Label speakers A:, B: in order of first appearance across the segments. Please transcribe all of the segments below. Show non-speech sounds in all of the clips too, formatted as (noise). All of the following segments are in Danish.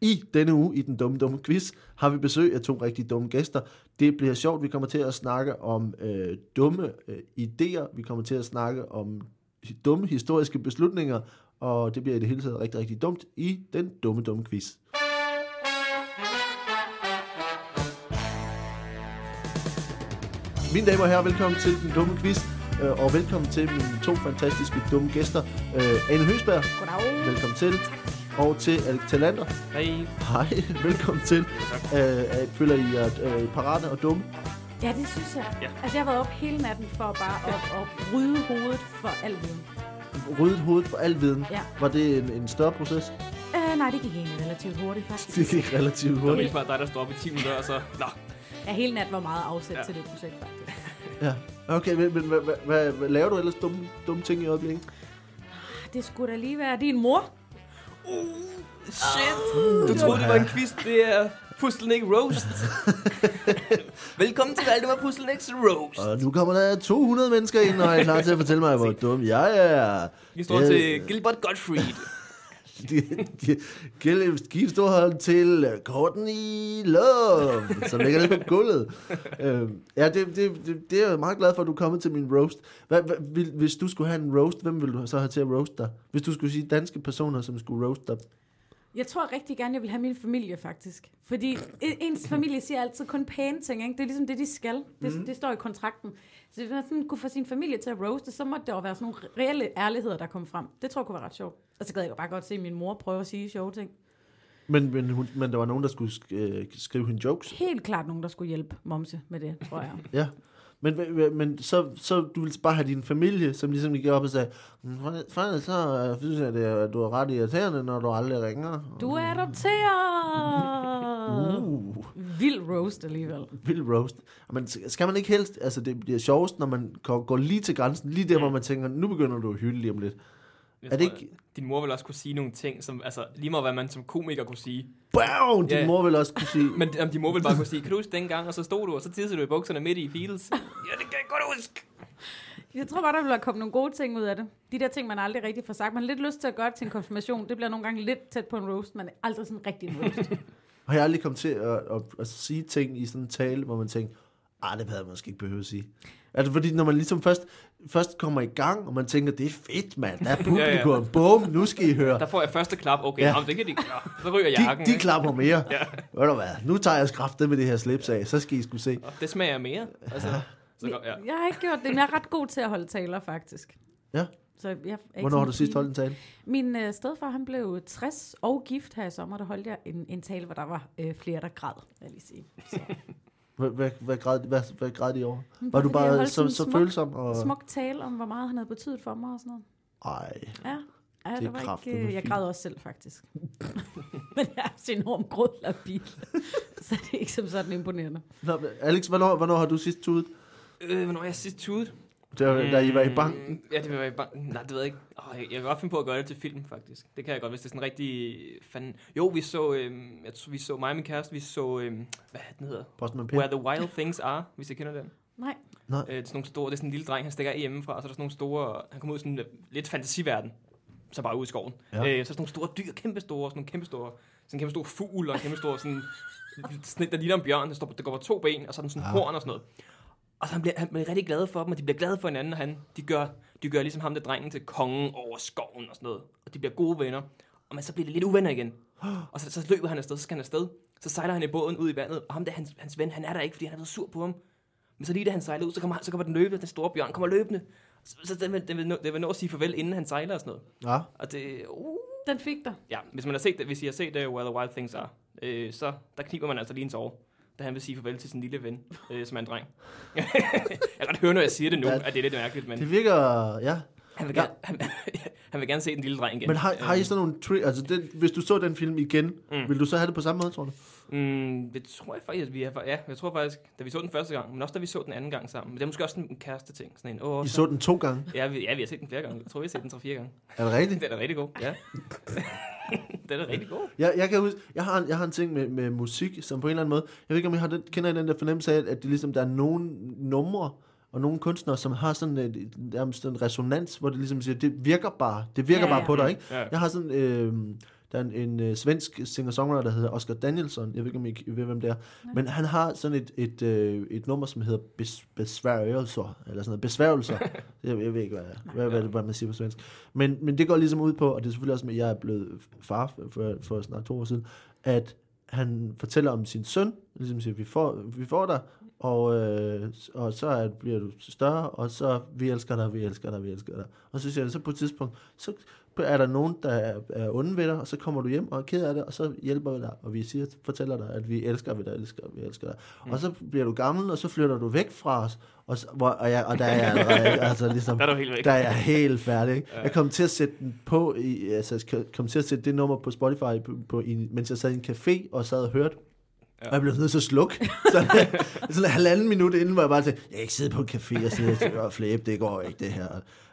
A: I denne uge i den dumme, dumme quiz har vi besøg af to rigtig dumme gæster. Det bliver sjovt. Vi kommer til at snakke om øh, dumme øh, idéer. Vi kommer til at snakke om hi- dumme historiske beslutninger. Og det bliver i det hele taget rigtig, rigtig dumt i den dumme, dumme quiz. Mine damer og herrer, velkommen til den dumme quiz. øh, Og velkommen til mine to fantastiske dumme gæster. Øh, Anne Høsberg,
B: Goddag.
A: velkommen til. Og til Alex Talander.
C: Hej.
A: Hej, velkommen til. Øh, øh, føler I jer øh, parate og dumme?
B: Ja, det synes jeg.
C: Ja.
B: Altså, jeg har været op hele natten for bare at, at bryde hovedet for alt viden.
A: Ryddet hovedet for al viden.
B: Ja.
A: Var det en, en større proces?
B: Øh, nej, det gik egentlig relativt hurtigt, faktisk.
A: Det gik (laughs) relativt
C: Det var mest
A: hurtigt.
C: bare dig, der står op i 10 minutter, og så... Nå,
B: Ja, hele natten var meget afsæt ja.
C: Ja.
B: til det projekt, faktisk.
A: Ja. Okay, men, men hvad, hvad, hvad, hvad laver du ellers dumme, dumme ting i øjeblikket?
B: Ah, Det skulle da lige være din mor.
C: shit. Du troede, det var en quiz. Det er Pustelnik (laughs) Roast. Velkommen til Valdemar Pustelniks Roast.
A: Og nu kommer der 200 mennesker ind, og er klar til at fortælle mig, hvor dum jeg er.
C: Vi står
A: Øh,
C: til Gilbert Gottfried.
A: (laughs) de- de- Giv giv stor hånd til øh, Courtney Love, som ligger nede på gulvet. Øh, ja, det, det, det, det er jeg meget glad for, at du er kommet til min roast. Hvad, hvad, vil, hvis du skulle have en roast, hvem ville du så have til at roast dig? Hvis du skulle sige danske personer, som skulle roast dig.
B: Jeg tror rigtig gerne, jeg vil have min familie, faktisk. Fordi e- ens familie siger altid kun pæne ting, ikke? Det er ligesom det, de skal. Det,
C: Mhm.
B: mm. det står i kontrakten. Så hvis man sådan kunne få sin familie til at roaste, så måtte der jo være sådan nogle reelle ærligheder, der kom frem. Det tror jeg kunne være ret sjovt. Og så gad jeg jo bare godt se min mor prøve at sige sjove ting.
A: Men, men, hun, men der var nogen, der skulle sk- øh, skrive hende jokes.
B: Helt klart nogen, der skulle hjælpe momse med det, tror jeg.
A: Ja. Men, hva- hva- men så, så du ville bare have din familie, som ligesom gik op og sagde, "Mm, for- for- så øh, synes jeg, det er- at du er ret irriterende, når du aldrig ringer.
B: Du er adopteret!
A: Uh.
B: Vild roast alligevel.
A: Vild roast. Men skal man ikke helst, altså det bliver sjovest, når man går går lige til grænsen, lige der, hvor man tænker, nu begynder du at hylde lige om lidt.
C: Jeg
A: er det
C: Mm. tror,
A: ikke-
C: Din mor vil også kunne sige nogle ting, som... Altså, lige meget hvad man som komiker kunne sige.
A: Bam! Din
C: Ja.
A: mor vil også kunne sige,
C: (laughs) Men jamen, din mor vil bare kunne sige, kan du huske dengang? Og så stod du, og så tissede du i bukserne midt i fields. (laughs) Ja, det kan jeg godt huske.
B: Jeg tror bare, der ville komme nogle gode ting ud af det. De der ting, man aldrig rigtig får sagt. Man har lidt lyst til at gøre det til en konfirmation. Det bliver nogle gange lidt tæt på en roast, men aldrig sådan rigtig en roast.
A: har jeg aldrig kommet til at, at, at, sige ting i sådan en tale, hvor man tænker, ah, det havde jeg måske ikke behøvet at sige. Altså, fordi når man ligesom først, først kommer i gang, og man tænker, det er fedt, mand,
C: (laughs)
A: der er publikum, ja, ja. bum, nu skal I høre.
C: Der får jeg første klap. Okay,
A: Ja.
C: ja. jamen, det kan de gøre. Så ryger
A: De,
C: jakken.
A: de
C: ikke?
A: klapper mere.
C: Ja.
A: Ved du hvad, nu tager jeg skraftet med det her slips af, så skal I skulle se.
C: Det smager mere. Altså, så, går- ja.
B: Jeg har ikke gjort det, men jeg er ret god til at holde taler, faktisk.
A: Ja.
B: Så jeg er ikke
A: Hvornår
B: sådan
A: har du sidst
B: pinlig.
A: holdt en tale?
B: Min øh, stedfar, han blev 60 og gift her i sommer. Der holdt jeg en, en tale, hvor der var øh, flere, der græd, vil jeg lige sige. Så.
A: Hvad, hvad, hvad, græd, hvad, hvad græd de over?
B: Men
A: Var du
B: fordi jeg
A: bare
B: holdt
A: så,
B: sådan
A: så
B: smuk-
A: følsom? Og...
B: Smuk tale om, hvor meget han havde betydet for mig og sådan noget.
A: Ej.
B: Ja, ja
A: Det
B: det,
A: er
B: det var
A: kraftedeme
B: ikke, øh, jeg
A: fint.
B: græd også selv, faktisk. (laughs) Men jeg er så enormt grådlabil, (laughs) så det er ikke som sådan imponerende.
A: Nå, men Alex, hvornår, hvornår har du sidst tudet?
C: Øh, hvornår er jeg sidst tudet?
A: Da, mm. da I var i banken?
C: Mm, Ja, det var i banken. Nej, det ved jeg ikke. Oh, jeg, jeg kan godt finde på at gøre det til film, faktisk. Det kan jeg godt, hvis det er sådan rigtig... Fanden. Jo, vi så... Øhm, jeg tror, vi så mig og min kæreste, vi så... Øhm, hvad er den hedder?
A: Postman Per?
C: Where the Wild Things Are, hvis I kender den.
B: Nej,
C: Øh, det, er sådan nogle store, det er sådan en lille dreng, han stikker af hjemmefra, og så er der sådan nogle store... Han kommer ud i sådan en øh, lidt fantasiverden, så bare ud i skoven.
A: Ja.
C: Ja. Øh, så er der sådan nogle store dyr, kæmpe store, sådan nogle kæmpe store... Sådan en kæmpe stor fugl, og en kæmpe stor sådan... Sådan et, der ligner en bjørn, der, står, på- der går på to ben, og så er den sådan
A: Ah.
C: ja. horn og sådan noget. Og så han bliver han bliver rigtig glad for dem, og de bliver glade for hinanden, og han, de, gør, de gør ligesom ham der drengen til kongen over skoven og sådan noget. Og de bliver gode venner. Og men så bliver de lidt uvenner igen. Og så, så løber han afsted, så skal han afsted. Så sejler han i båden ud i vandet, og ham der, hans, hans ven, han er der ikke, fordi han er blevet sur på ham. Men så lige da han sejler ud, så kommer, han- så kommer den løbende, den store bjørn kommer løbende. Så, så den, vil, den, vil nå, den vil nå at sige farvel, inden han sejler og sådan noget.
A: Ja.
C: Og det, uh,
B: den fik dig.
C: ja, hvis man har set det, hvis I har set uh, Where the Wild Things Are, øh, så der kniber man altså lige en tårer, da han vil sige farvel til sin lille ven, øh, som er en dreng. (laughs) jeg kan godt høre, når jeg siger det nu,
A: Ja.
C: at det er lidt mærkeligt, men
A: Det virker... Ja.
C: han vil, gerne, han, (laughs) han vil gerne se den lille dreng igen.
A: Men har, har I sådan nogle... Tri- altså, den, hvis du så den film igen, mm. vil du så have det på samme måde, tror du?
C: Mm, det tror jeg faktisk, at vi har... Ja, jeg tror faktisk, da vi så den første gang, men også da vi så den anden gang sammen. Men det er måske også sådan en kæreste ting. Sådan en, åh,
A: I
C: så-
A: så den to gange.
C: ja, vi, ja, vi har set den flere gange. Jeg tror, vi har set den tre-fire gange. (laughs)
A: Er det rigtigt?
C: Den er rigtig god, ja. (laughs) den er rigtig god.
A: Jeg, jeg kan huske, jeg har, en, jeg har en ting med, med musik, som på en eller anden måde, jeg ved ikke, om I har den, kender I den der fornemmelse af, at det ligesom, der er nogle numre, og nogle kunstnere, som har sådan en, nærmest en resonans, hvor det ligesom siger, det virker bare, det virker ja,
B: Ja,
A: bare
B: ja.
A: på dig, ikke?
C: Ja.
A: Jeg har sådan, øh, Der er en, en øh, svensk singer-songwriter, der hedder Oscar Danielsson. Jeg ved ikke, om I k- ved, hvem det er. Nej. Men han har sådan et, et, øh, et nummer, som hedder Bes- Besværgelser. Eller sådan noget. Besværgelser. jeg, jeg ved ikke, hvad, hvad, hvad, hvad man siger på svensk. Men, men det går ligesom ud på, og det er selvfølgelig også med, at jeg er blevet far for, for, for snart to år siden, at han fortæller om sin søn, ligesom siger, vi får, vi får dig, og, øh, og så er, bliver du større, og så vi elsker dig, vi elsker dig, vi elsker dig. Og så siger han, så på et tidspunkt, så er der nogen, der er, er onde ved dig, og så kommer du hjem og er ked af det, og så hjælper vi dig, og vi siger, fortæller dig, at vi elsker dig, elsker, vi elsker dig. Mm. Og så bliver du gammel, og så flytter du væk fra os, og, så, hvor, og, jeg, og der er
C: (laughs)
A: jeg allerede, altså ligesom,
C: Der er du helt væk.
A: der er jeg helt færdig. Ikke? Jeg kom til at sætte den på, i, altså jeg kom til at sætte det nummer på Spotify, på, på, i, mens jeg sad i en café og sad og hørte. Ja. Og jeg blev nødt til at slukke. Så sådan en halvanden minut inden, hvor jeg bare tænkte, jeg kan ikke sidde på en café og sidde og flæbe, det går ikke det her.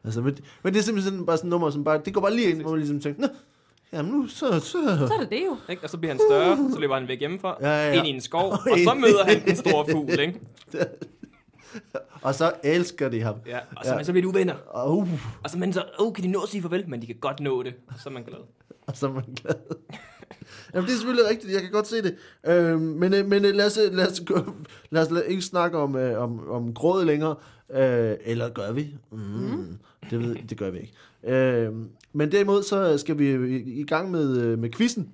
A: Altså, men, men det er simpelthen sådan, bare sådan et nummer, som bare, det går bare lige ind, hvor man ligesom tænker, nå, jamen nu, så, så,
B: Så er det det jo.
C: Ikke? Og så bliver han større, så løber han væk hjemmefra,
A: Ja, ja, ja.
C: ind i en
A: (laughs)
C: skov, og så møder han den store fugl, ikke?
A: og så elsker de ham.
C: Ja, og så, ja. Men, så bliver de uvenner.
A: Og, uh,
C: Og så, men så, oh, kan de nå at sige farvel? Men de kan godt nå det. Og så er man glad.
A: (laughs) Og så er man glad. Jamen, det er selvfølgelig rigtigt, jeg kan godt se det. Øh, men øh, men øh, lad, os, øh, lad, os, gå- lad os la- ikke snakke om, øh, om, om gråd længere. Øh, eller gør vi? Mm, mm. Det, ved, det gør vi ikke. Øh, men derimod så skal vi øh, i, i gang med, øh, med quizzen.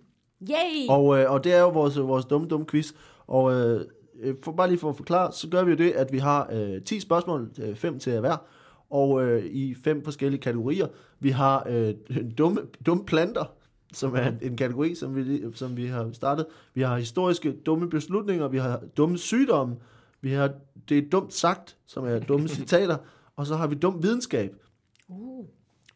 B: Yay!
A: Og, øh, og det er jo vores, vores dumme, dumme quiz. Og øh, øh, for, bare lige for at forklare, så gør vi jo det, at vi har øh, 10 spørgsmål, 5 til hver, og øh, i fem forskellige kategorier. Vi har øh, (laughs) dumme, dumme planter, som er en- en kategori, som vi, lige- som vi har startet. Vi har historiske dumme beslutninger, vi har dumme sygdomme, vi har det er dumt sagt, som er dumme citater, og så har vi dum videnskab
B: Uh,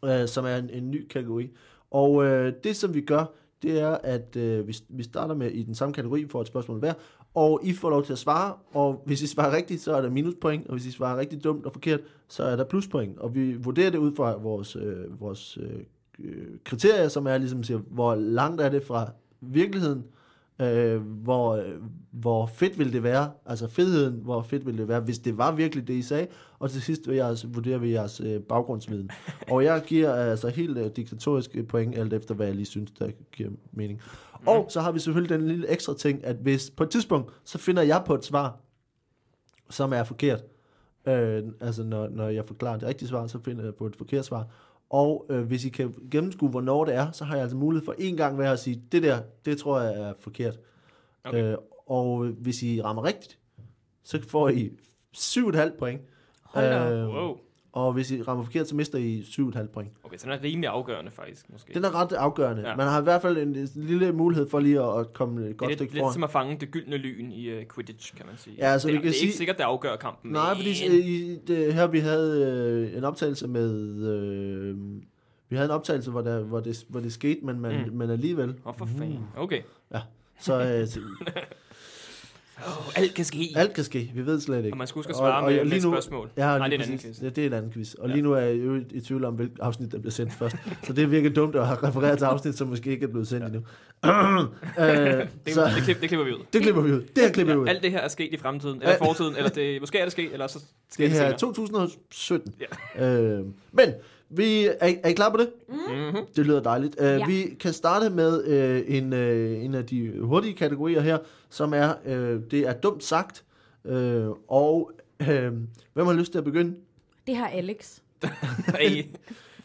A: øh, som er en, en ny kategori. Og øh, det, som vi gør, det er, at øh, vi, vi starter med i den samme kategori, for et spørgsmål hver, og I får lov til at svare, og hvis I svarer rigtigt, så er der minuspoint, og hvis I svarer rigtig dumt og forkert, så er der pluspoint. Og vi vurderer det ud fra vores, øh, vores øh, øh, kriterier, som er ligesom, siger, hvor langt er det fra virkeligheden, øh, hvor, øh, hvor fedt vil det være, altså fedheden, hvor fedt vil det være, hvis det var virkelig det, I sagde, og til sidst vil jeg altså vurdere ved jeres øh, baggrundsviden. Og jeg giver altså helt øh, diktatoriske point, alt efter hvad jeg lige synes, der giver mening. Og så har vi selvfølgelig den lille ekstra ting, at hvis på et tidspunkt, så finder jeg på et svar, som er forkert. Øh, altså når, når jeg forklarer det rigtige svar, så finder jeg på et forkert svar. Og øh, hvis I kan gennemskue, hvornår det er, så har jeg altså mulighed for en gang hver at sige, det der, det tror jeg er forkert. Okay. Øh, og hvis I rammer rigtigt, så får I 7,5 point.
B: Hold da
A: Øh,
C: Wow.
A: Og hvis I rammer forkert, så mister I 7,5 point.
C: Okay, så den er rimelig afgørende, faktisk, måske.
A: Den er ret afgørende. Ja.
C: Ja.
A: Man har i hvert fald en, en lille mulighed for lige at, at komme et
C: det er
A: godt
C: lidt,
A: stykke
C: lidt
A: foran.
C: som at fange det gyldne lyn i uh, Quidditch, kan man sige.
A: Ja, altså,
C: det,
A: vi
C: er-
A: kan
C: det er ikke
A: sige-
C: sikkert, det afgør kampen.
A: Nej, fordi øh, i, det, her vi havde øh, en optagelse med... Øh, vi havde en optagelse, hvor, der, hvor, det, hvor det skete, men, man, mm. men alligevel.
C: Åh, for fanden. Okay.
A: Så
C: (laughs)
A: øh, så
C: Oh, alt kan ske.
A: alt kan ske. Vi ved slet ikke.
C: Og man skal huske at svare med- med et spørgsmål.
A: Ja,
C: Nej,
A: lige
C: det er en anden
A: præcis.
C: quiz.
A: Ja, det er en anden quiz. Og lige nu er jeg i øvrigt i tvivl om, hvilket afsnit, der bliver sendt først. (laughs) så det virker dumt at have refereret til afsnit, som måske ikke er blevet sendt ja. endnu. (clears throat) øh,
C: (laughs) Det,
A: så,
C: det, klip, det klipper vi ud.
A: det klipper vi ud. Det her klipper vi ud.
C: Alt det her er sket i fremtiden, eller
A: Alt-
C: fortiden, eller det, måske er det sket, eller så sker
A: Det
C: det,
A: her er
C: senere.
A: 2017. Ja. Øh, men vi er, er I klar på det?
C: Mm-hmm.
A: Det lyder dejligt. Uh, ja.
B: Ja.
A: Vi kan starte med uh, en, uh, en af de hurtige kategorier her, som er, uh, det er dumt sagt. Uh, og uh, hvem har lyst til at begynde?
B: Det har Alex.
C: Er, I-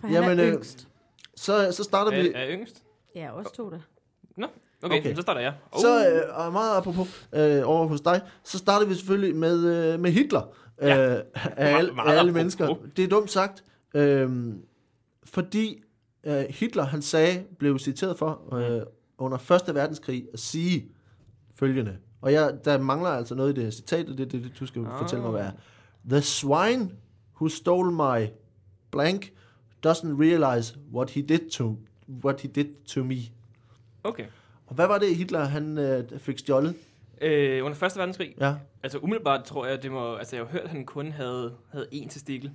B: For han
A: Jamen, øh,
B: er yngst.
A: Så, så starter vi...
C: er, er I yngst?
B: Ja, også to der.
C: Okay,
A: Okay.
C: okay. så starter jeg. Oh,
A: Så, øh, og meget apropos øh, over hos dig, så starter vi selvfølgelig med, øh, med Hitler. Øh,
C: Ja.
A: af, alle, af
C: meget
A: alle
C: apropos.
A: mennesker. Det er dumt sagt. Øh, fordi øh, Hitler, han sagde, blev citeret for
C: Mm.
A: øh, under 1. verdenskrig at sige følgende. Og jeg, der mangler altså noget i det her citat, og det er det, det, du skal
C: Ah.
A: fortælle mig, hvad er. The swine who stole my blank doesn't realize what he did to, what he did to me.
C: Okay.
A: Og hvad var det, Hitler han øh, fik stjålet?
C: Øh, under Første verdenskrig,
A: Ja.
C: altså umiddelbart tror jeg, det må, altså jeg har hørt, at han kun havde, havde én testikkel.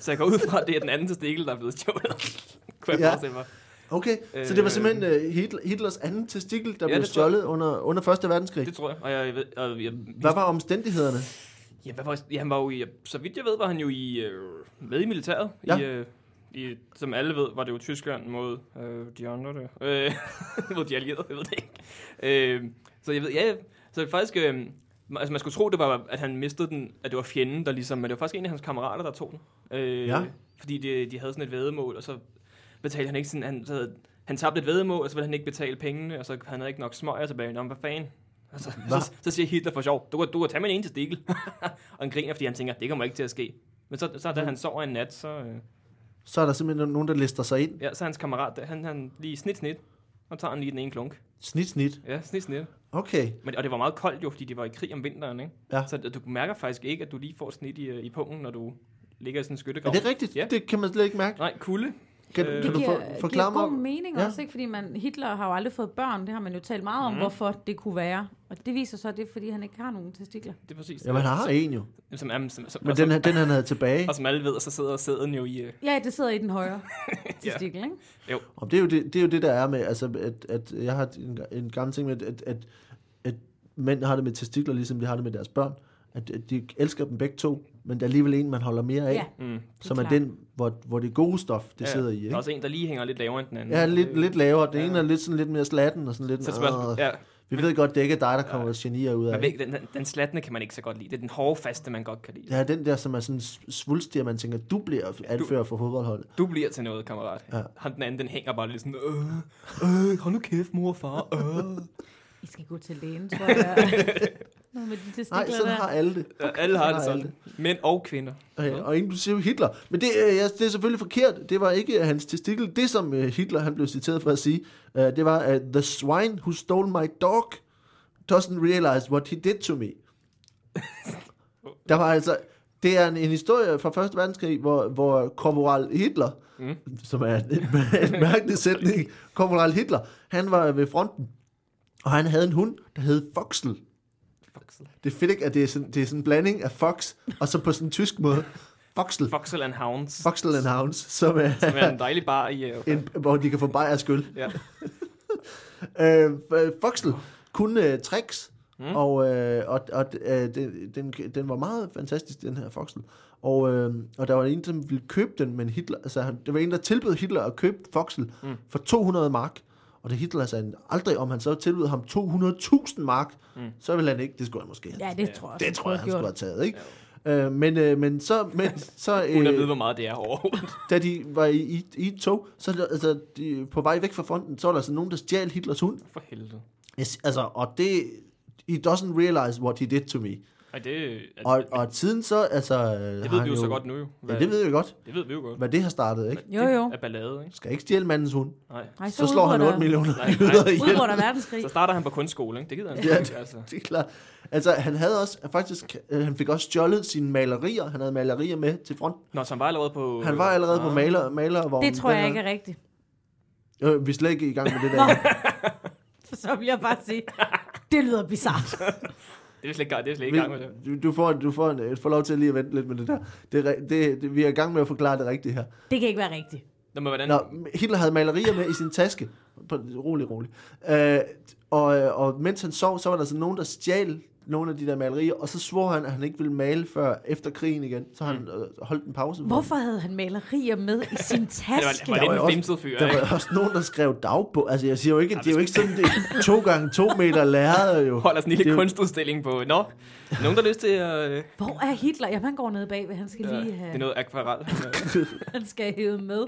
C: Så jeg går ud fra, at det er den anden testikkel, der er blevet stjålet. (laughs) Kunne jeg
A: Ja.
C: ja. forestille mig.
A: Okay, øh, så det var simpelthen øh, Hitler, Hitlers anden testikel, der ja,
C: Ja,
A: blev
C: det tror jeg.
A: stjålet under, under 1. verdenskrig.
C: Det tror jeg. Og jeg, jeg ved, og jeg,
A: Hvad var omstændighederne?
C: Ja, hvad var, ja, han var jo i, så vidt jeg ved, var han jo i, øh, med i militæret
A: Ja.
C: ja. i øh, i, som alle ved, var det jo Tyskland mod øh, de andre der. Øh, (laughs) mod de allierede, jeg ved det ikke. Øh, så jeg ved, ja, så faktisk, øh, altså man skulle tro, det var, at han mistede den, at det var fjenden, der ligesom, men det var faktisk en af hans kammerater, der tog den. Øh,
A: Ja.
C: Fordi de, de havde sådan et væddemål, og så betalte han ikke sådan, han, så havde, han tabte et væddemål, og så ville han ikke betale pengene, og så han havde ikke nok smøger tilbage. Nå, men hvad fanden? Altså,
A: Hva?
C: så, så, siger Hitler for sjov, du kan, du kan tage min ene testikkel. (laughs) og han griner, fordi han tænker, det kommer ikke til at ske. Men så, så da han sover en nat, så, øh,
A: Så er der simpelthen nogen, der lister sig ind.
C: Ja, så hans kammerat, der, han, han lige snit, snit, og tager han lige den ene klunk.
A: Snit, snit.
C: Ja, snit, snit.
A: Okay.
C: Men, og det var meget koldt jo, fordi de var i krig om vinteren, ikke?
A: Ja.
C: Så du mærker faktisk ikke, at du lige får snit i, øh, i pungen, når du ligger i sådan en
A: Er
C: skyttegrav.
A: det rigtigt?
C: Ja.
A: Det kan man slet ikke mærke.
C: Nej, kulde.
A: Kan,
C: Øh,
A: kan
B: Det
A: du for,
B: giver,
A: forklare
B: giver god
A: mig?
B: mening
A: Ja.
B: ja. også, ikke? fordi man, Hitler har jo aldrig fået børn. Det har man jo talt meget om, mm. hvorfor det kunne være. Og det viser så, at det er, fordi han ikke har nogen testikler.
C: Det er præcis.
A: Ja, man har en jo.
C: Som, som, jamen, som, som,
A: Men
C: og, den
A: den,
C: som,
A: her- den han havde tilbage.
C: og som alle ved, så sidder sæden jo i... øh,
B: Ja, det sidder i den højre testikel, ikke?
A: Og det, er jo det, det er jo det, der er med, altså, at, at jeg har en, en gammel ting med, at, at, at mænd har det med testikler, ligesom de har det med deres børn. At, at de elsker dem begge to, men der er alligevel en, man holder mere af,
B: Ja,
A: ja,
C: Mm,
A: som er
B: klart.
A: den, hvor, hvor det gode stof, det ja, sidder i.
C: Der er
A: Ikke?
C: også en, der lige hænger lidt lavere end den anden.
A: Ja,
C: Øh,
A: lidt, lidt lavere. Den
C: ja.
A: ene er lidt, sådan, lidt mere slatten, og sådan lidt...
C: Så spørgsmålet,
A: "Åh,
C: ja,
A: Vi ved godt, det er ikke er dig, der kommer genier ud af.
C: man ved, ikke, den, den, den slatne kan man ikke så godt lide. Det er den hårde faste, man godt kan lide.
A: Ja, den der, som er sådan svulstig, og man tænker, du bliver anfører for fodboldholdet.
C: Du bliver til noget, kammerat.
A: Ja.
C: Ja. Han den anden, den hænger bare lidt sådan, øh, øh, hold nu kæft, mor og far, øh.
B: I skal gå til lægen,
A: (laughs)
B: tror jeg. Noget med de testikler
A: Nej, sådan
B: der.
A: har alle det.
C: Okay, alle har det
A: har alle
C: sådan. Mænd og kvinder.
A: Okay, og inklusive Hitler. Men det, øh, ja, det er selvfølgelig forkert. Det var ikke øh, hans testikel. Det, som øh, Hitler han blev citeret for at sige, øh, det var, at the swine who stole my dog doesn't realize what he did to me. Der var altså... Det er en, en historie fra Første Verdenskrig, hvor, hvor korporal Hitler, mm. som er en, en mærkelig sætning, korporal Hitler, han var ved fronten, og han havde en hund, der hed Foxel.
C: Foxel.
A: Det er fedt ikke, at det er sådan, det er sådan en blanding af fox, og så på sådan en tysk måde, Foxel.
C: Foxel and Hounds.
A: Foxel and Hounds, som er,
C: Som er en dejlig bar i... Uh,
A: en, hvor de kan få bajersk øl.
C: ja.
A: Øh, øh, Foxel kunne øh, tricks, mm. og, øh, og, og øh, den, den, den var meget fantastisk, den her Foxel. Og, øh, og der var en, som ville købe den, men Hitler, altså, han- der var en, der tilbød Hitler at købe Foxel mm. for 200 mark. Og det Hitler sagde aldrig, om han så tilbød ham 200.000 mark, mm. så ville han ikke, det skulle han måske have.
B: Ja, det tror jeg.
A: Det tror jeg, han skulle
B: gjort.
A: have taget, ikke? Øh, men, øh, men så, men, (laughs) så
C: Uden at vide,
A: øh,
C: hvor meget det er overhovedet.
A: da de var i, i, i et tog, så er der- altså, de, på vej væk fra fronten, så var der altså nogen, der stjal Hitlers hund.
C: (laughs) For helvede.
A: Yes, altså, og det, he doesn't realize what he did to me.
C: Ej, det... At,
A: Og, og siden så, altså...
C: det ved vi jo så godt nu, jo.
A: Ja, det ved vi godt,
C: det ved vi jo godt.
A: hvad det har startet, ikke?
B: Jo, jo.
C: Det er ballade, ikke?
A: Skal ikke stjæle mandens hund.
C: Nej.
B: Ej,
A: Så slår han 8
B: millioner.
A: millioner
C: Nej, nej.
A: jøder ihjel.
B: Udgår der
A: (laughs)
B: verdenskrig.
C: Så starter han på kunstskole, ikke? Det gider han
A: Ja,
C: ikke. Altså.
A: (laughs) Det er klart. Altså, han havde også, faktisk, øh, han fik også stjålet sine malerier. Han havde malerier med til front.
C: Nå, så han var allerede på...
A: Han var allerede
C: Ah.
A: på maler, malervognen.
B: Det tror jeg
A: Den
B: ikke
A: her-
B: er rigtigt. (laughs)
A: Øh, vi er slet ikke i gang med det der.
B: For så vil jeg bare sige, det lyder
A: (laughs)
B: bizart.
C: Det er slet ikke, det er slet ikke i gang med det.
A: Du, du, får, du får, en, får lov til lige at vente lidt med det der. Det, er re- det, det, vi er i gang med at forklare det rigtige her.
B: Det kan ikke være rigtigt.
C: Nå, men hvordan...
A: Nå, Hitler havde malerier med i sin taske. På, rolig, rolig. Øh, og, og mens han sov, så var der så nogen, der stjal nogle af de der malerier, og så svor han, at han ikke ville male før efter krigen igen. Så
C: Mm.
A: han øh, holdt en pause. for det.
B: Hvorfor havde han malerier med i
A: (laughs)
B: sin
C: Det var,
B: taske?
C: var
A: var
C: lidt
A: jo
C: en
A: også-
C: femset fyr,
A: Der
C: ikke?
A: var også nogen, der skrev dagbog. Altså, jeg siger jo ikke, det er jo ikke sådan, det er to gange to meter lærere jo.
C: Holder sådan en
A: Det er
C: lille
A: jo-
C: kunstudstilling på... Nå, nogen der har lyst til at... Øh,
B: Hvor er Hitler? Jamen, han går ned bagved. Han skal lige
C: det er
B: have,
C: noget akvarel.
B: han skal hæve med.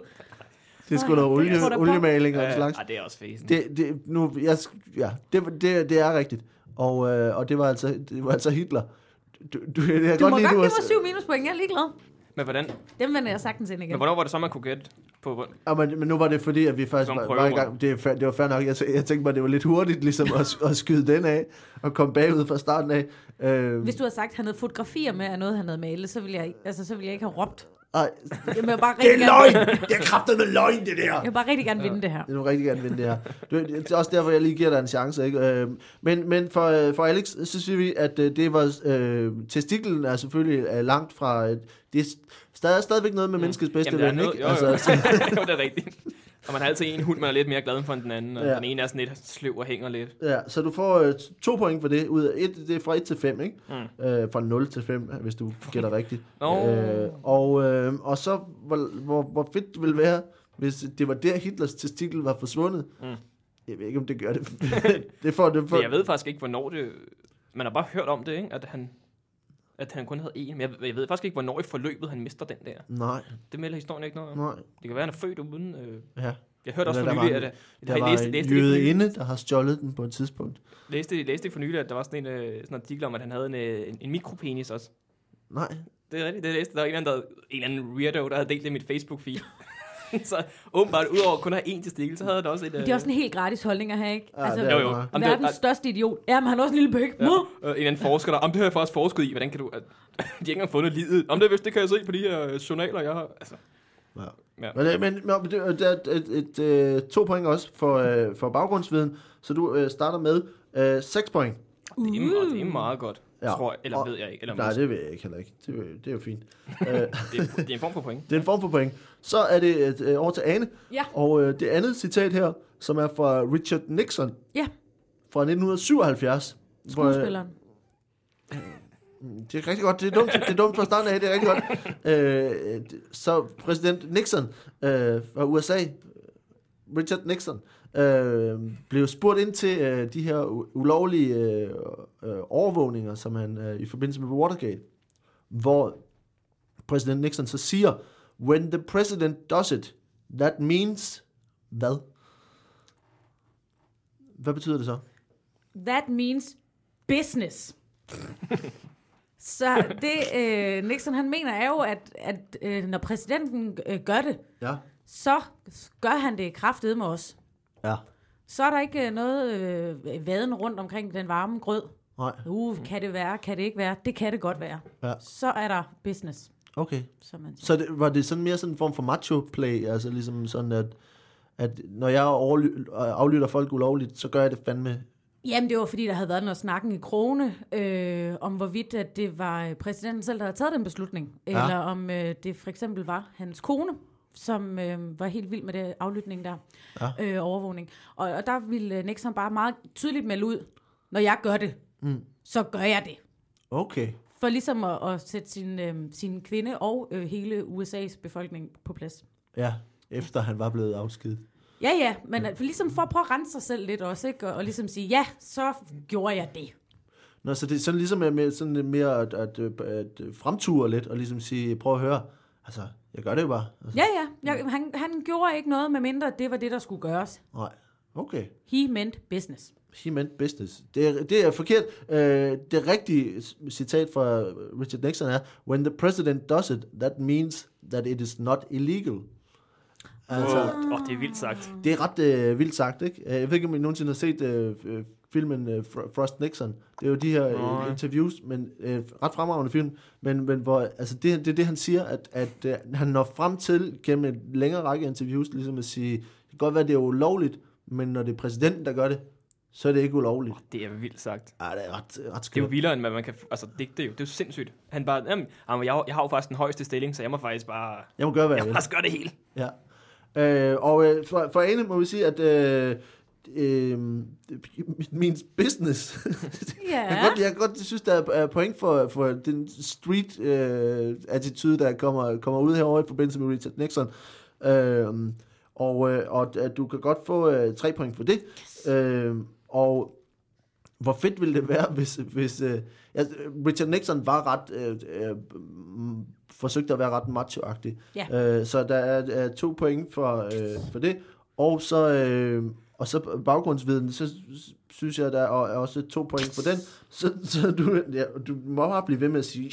A: Det er sgu da olie,
B: tror da på.
A: oliemaling og en slags.
C: Ja, det er også fæsen.
A: Det, det, nu, jeg, sk- ja, det, det, det er rigtigt. Og, øh, og det, var altså, det var altså Hitler. Du, du, jeg kan
B: Du
A: lide, du
B: må godt give
A: har-
B: mig syv minuspoint. Jeg er ligeglad.
C: Men hvordan...
B: Dem vender jeg sagtens ind igen.
C: Men hvornår var det så, man kunne gætte på... hvor-
A: Ja, men, men nu var det fordi, at vi faktisk
C: Som
A: var, var i
C: prøverunde.
A: gang. Det, er fair- det var fair nok. Jeg, tæ- jeg tænkte bare, det var lidt hurtigt ligesom at, at skyde den af og komme bagud fra starten af. Øh,
B: Hvis du havde sagt, at han havde fotografier med af noget, han havde malet, så ville jeg, altså, så ville jeg ikke have
A: (laughs)
B: råbt.
A: ej,
B: Jamen, jeg vil bare
A: det
B: rigtig
A: er
B: gerne,
A: løgn! Det er kraftet med løgn, det der!
B: jeg vil bare rigtig gerne vinde det her.
A: Jeg vil rigtig gerne vinde det her. Det er- Det er også derfor, jeg lige giver dig en chance. Ikke? Øh, Men, men for, øh, for Alex, så synes vi, at øh, det var... Øh, testiklen er selvfølgelig øh, langt fra... øh, Det er st- der er stadigvæk noget med menneskets bedste
C: Mm. Jamen, der er
A: ven,
C: noget- (laughs)
A: ikke?
C: Jo, jo.
A: Altså,
C: jo, det er rigtigt. Og man har altid en hund, man er lidt mere glad for end den anden. Og
A: Ja.
C: ja. den ene er sådan lidt sløv og hænger lidt.
A: Ja, så du får øh, to point for det. Ud af et, det er fra 1 til 5, ikke? Mm. Øh, fra 0 til 5, hvis du gætter rigtigt.
C: Nå.
A: Øh, og, øh, og så, hvor, hvor, hvor fedt det ville være, hvis det var der, Hitlers testikel var forsvundet. Mm. Jeg ved ikke, om det gør det. (laughs) det får det for,
C: Men (laughs) jeg ved faktisk ikke, hvornår det... Man har bare hørt om det, ikke? At han, at han kun havde en. Men jeg, jeg ved faktisk ikke, hvornår i forløbet han mister den der.
A: Nej,
C: Det melder historien ikke noget om.
A: nej.
C: Det kan være, han er født uden... Øh...
A: Ja.
C: Jeg hørte også
A: Eller
C: for
A: der
C: nylig,
A: var
C: at...
A: en-
C: at
A: Der
C: jeg
A: var
C: læste,
A: en
C: læste, læste,
A: jødeinde, der har stjålet den på et tidspunkt.
C: læste, læste for nylig, at der var sådan en, øh, sådan en artikel om, at han havde en, øh, en, en mikropenis også.
A: Nej,
C: Det er rigtigt, det er læst. Der var en eller anden, der, en eller anden weirdo, der havde delt det i mit Facebook-feed. (laughs) så åbenbart, udover kun at have én testikkel, så havde han også et... øh,
B: Det er også en helt gratis holdning at have, ikke? Altså,
A: Ja, det er
C: jo, jo.
A: meget.
C: Jamen, det,
B: verdens
C: er-
B: største idiot. Jamen, han er også en lille bøk.
C: Ja,
B: Ja.
C: øh, en eller anden forsker, der, om det har jeg faktisk forsket i, hvordan kan du, at, (laughs) de har ikke engang fundet livet. Om det er vist, det kan jeg se på de her øh, journaler, jeg har. Altså,
A: Ja.
C: Ja.
A: Men, øh, men, men det- øh, der er et, et, øh, to point også for, øh, for baggrundsviden, så du øh, starter med øh, 6 point.
C: det, er, meget- det
B: Uh.
C: er meget godt,
A: Ja.
C: ja. tror jeg, eller
A: Og-
C: ved jeg ikke. Eller
A: Nej,
C: måske.
A: det ved jeg ikke heller ikke. Det, er jo- det er jo fint. øh, (laughs)
C: det, det, er en form for point.
A: det er en form for point. Så er det et, øh, over til Ane,
B: Ja.
A: og øh, det andet citat her, som er fra Richard Nixon
B: ja,
A: fra 1977. hvor, øh,
B: skuespilleren.
A: Det er rigtig godt. Det er dumt, det er dumt fra starten af. Det er rigtig godt. Øh, det- så præsident Nixon øh, fra USA, Richard Nixon, øh, blev spurgt ind til øh, de her u- ulovlige øh, øh, overvågninger, som han øh, i forbindelse med Watergate, hvor præsident Nixon så siger, when the president does it, that means hvad? Hvad betyder det så?
B: That means business. Så det, øh, Nixon han mener, er jo, at, at øh, når præsidenten øh, gør det,
A: Ja.
B: så gør han det kraftedet med os.
A: Ja.
B: Så er der ikke øh, noget øh, vaden rundt omkring den varme grød.
A: Nej.
B: Uh, kan det være, kan det ikke være? Det kan det godt være.
A: Ja.
B: Så er der business,
A: Okay.
B: som man siger.
A: Så det, var det sådan mere sådan en form for macho-play, altså ligesom sådan, at, at når jeg overly- øh, aflytter folk ulovligt, så gør jeg det fandme.
B: Jamen, det var fordi, der havde været noget snakken i krone, øh, om hvorvidt at det var øh, præsidenten selv, der havde taget den beslutning.
A: Ja.
B: Ja. Eller om øh, det for eksempel var hans kone, som øh, var helt vild med det aflytning der,
A: Ja.
B: ja. øh, overvågning. Og, og der ville øh, Nixon bare meget tydeligt melde ud, når jeg gør det, mm. så gør jeg det.
A: Okay.
B: For ligesom at, at sætte sin, øh, sin kvinde og øh, hele USA's befolkning på plads.
A: Ja, efter han var blevet afskedet.
B: Ja, ja, men at- for ligesom for at prøve at rense sig selv lidt også, ikke? Og, og ligesom sige, ja, så gjorde jeg det.
A: Nå, så det er sådan ligesom med, med sådan lidt mere at, at, øh, at øh, fremture lidt, og ligesom sige, prøv at høre, altså, jeg gør det jo bare. Altså,
B: Ja, ja. Jeg, han, han gjorde ikke noget, medmindre det var det, der skulle gøres.
A: nej. Okay.
B: He meant business.
A: He meant business. Det er, det er forkert. Øh, det rigtige c- citat fra Richard Nixon er, when the president does it, that means that it is not illegal. Altså,
C: Åh, oh, det er vildt sagt.
A: Det er ret øh, vildt sagt, ikke? Øh, Jeg ved ikke, om I nogensinde har set øh, øh, filmen øh, Fro- Frost Nixon. Det er jo de her øh, interviews, men øh, ret fremragende film. Men, men hvor, altså det, det er det, han siger, at, at øh, han når frem til gennem en længere række interviews, ligesom at sige, det kan godt være, det er ulovligt, men når det er præsidenten, der gør det, så er det ikke ulovligt.
C: Det er vildt sagt.
A: Ej, det er ret, ret
C: Det er jo
A: skørt.
C: vildere, end hvad man kan... Altså, digte jo. Det er jo sindssygt. Han bare... Jamen, jamen, jeg, har- jeg har jo faktisk den højeste stilling, så jeg må faktisk bare...
A: Jeg må gøre, hvad jeg
C: Jeg må
A: vil.
C: faktisk gøre det hele.
A: Ja. Øh, og øh, for, for Ane må vi sige, at øh, øh, min business,
B: Ja.
A: Jeg kan godt, jeg kan godt synes, der er point for, for den street-attitude, der kommer, kommer ud herovre i forbindelse med Richard Nixon. Øhm, og, øh, og at du kan godt få øh, tre point for det. Yes. Øhm, og hvor fedt ville det være, hvis... hvis øh, altså, Richard Nixon var ret... Øh, øh, m- forsøgte at være ret macho-agtig.
B: Ja.
A: Øh, så der er, er to point for, øh, for det. Og så, øh, og så baggrundsviden, så s- synes jeg, der er også to point for den. Så, så du, ja, du må bare blive ved med at sige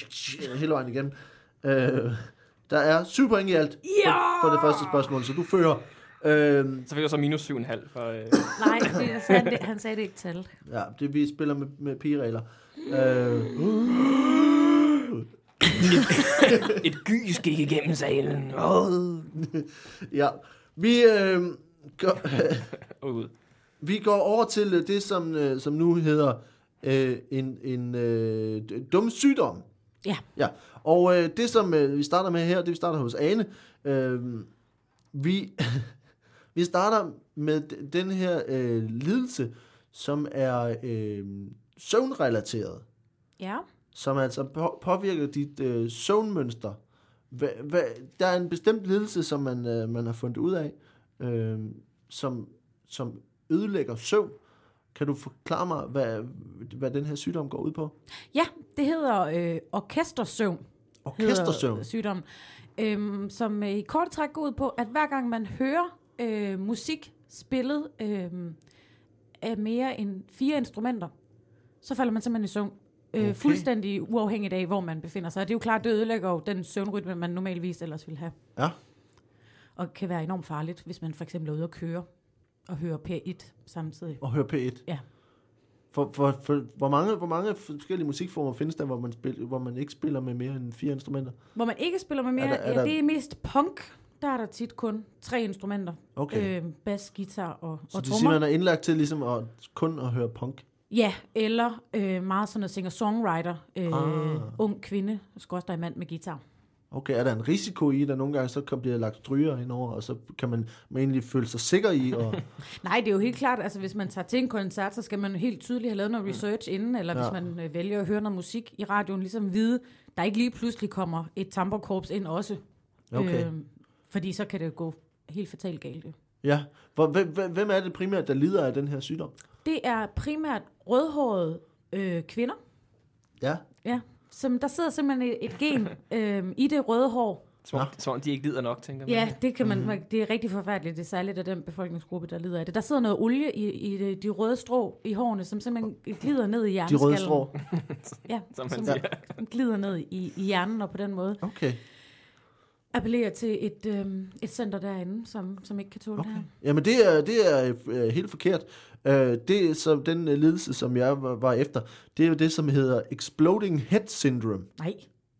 A: hele vejen igen. Øh, der er syv point i alt
B: Ja!
A: for, for det første spørgsmål, så du fører. Øh,
C: Så fik jeg så minus 7,5 for... Øh,
B: Nej, det, han, det, han sagde det ikke tal.
A: Ja, det vi spiller med, med pigeregler. Øh,
C: et gys gik igennem salen. Åh.
A: (laughs) ja, vi, øh, går, øh,
C: Ud.
A: (laughs) vi går over til øh, det, som, øh, som nu hedder øh, en, en øh, d- dum sygdom.
B: Ja.
A: Ja, og øh, det, som øh, vi starter med her, det vi starter hos Ane. Øh, vi, (laughs) Vi starter med d- den her øh, lidelse, som er øh, søvnrelateret,
B: Ja.
A: som altså på- påvirker dit øh, søvnmønster. Hva, hva, der er en bestemt lidelse, som man, øh, man har fundet ud af, øh, som, som ødelægger søvn. Kan du forklare mig, hvad, hvad den her sygdom går ud på?
B: ja, det hedder øh, orkestersøvn.
A: Orkestersøvn.
B: hedder sygdommen, øhm, som øh, i kort træk går ud på, at hver gang man hører øh, musik spillet øh, af mere end fire instrumenter, så falder man simpelthen i søvn. Øh,
A: Okay.
B: Fuldstændig uafhængigt af, hvor man befinder sig. Og det er jo klart, det ødelægger jo den søvnrytme, man normalvis ellers ville have.
A: Ja.
B: Og kan være enormt farligt, hvis man for eksempel er ude og køre og hører P1 samtidig.
A: Og høre P1.
B: Ja.
A: For, for, for, hvor, mange, hvor mange forskellige musikformer findes der, hvor man, spil, hvor man ikke spiller med mere end fire instrumenter?
B: Hvor man ikke spiller med mere,
A: Er
B: er
A: der-
B: der,
A: er
B: ja,
A: der-
B: det er mest punk. Der er der tit kun tre instrumenter.
A: Okay. Øh,
B: Øh, bas, guitar og,
A: så
B: og
A: det siger,
B: trommer.
A: man er indlagt til ligesom at, kun at høre punk.
B: Ja, eller øh, meget sådan noget singer-songwriter, øh,
A: Ah.
B: ah. ung kvinde, skorstræk mand med guitar.
A: Okay, er der en risiko i, at der nogle gange så kan blive lagt stryger indover, og så kan man, man egentlig føle sig sikker i? Og,
B: Nej, det er jo helt klart, altså hvis man tager til en koncert, så skal man jo helt tydeligt have lavet noget research inden, eller ja.
A: Mm. Ja.
B: hvis man øh, vælger at høre noget musik i radioen, ligesom vide, der ikke lige pludselig kommer et tamperkorps ind også.
A: Okay.
B: Øhm. fordi så kan det jo gå helt fatalt galt. jo.
A: ja. Hvor, hvem, hvem- hvem er det primært, der lider af den her sygdom?
B: Det er primært rødhårede øh, kvinder,
A: Ja.
B: ja, som der sidder simpelthen et, et
A: (laughs)
B: gen øh, i det røde hår,
C: Som,
A: Nå.
C: ja. som om de ikke lider nok, tænker man.
B: Ja, det kan man. Mm-hmm. Det er rigtig forfærdeligt. Det er særligt af den befolkningsgruppe, der lider af det. Der sidder noget olie i, i de- de røde strå i hårene, som simpelthen glider ned i
A: De
B: hjerneskallen.
A: røde strå.
B: Ja,
C: Som
B: som, som
C: man siger.
B: glider ned i, i hjernen, og på den måde
A: Okay.
B: appellerer til et, øhm, et center derinde, som, som ikke kan tåle okay. det her.
A: Jamen, det er, det er øh, helt forkert. Øh, det, som den øh, lidelse, som jeg var, var efter, det er jo det, som hedder Exploding Head Syndrome.
B: Nej.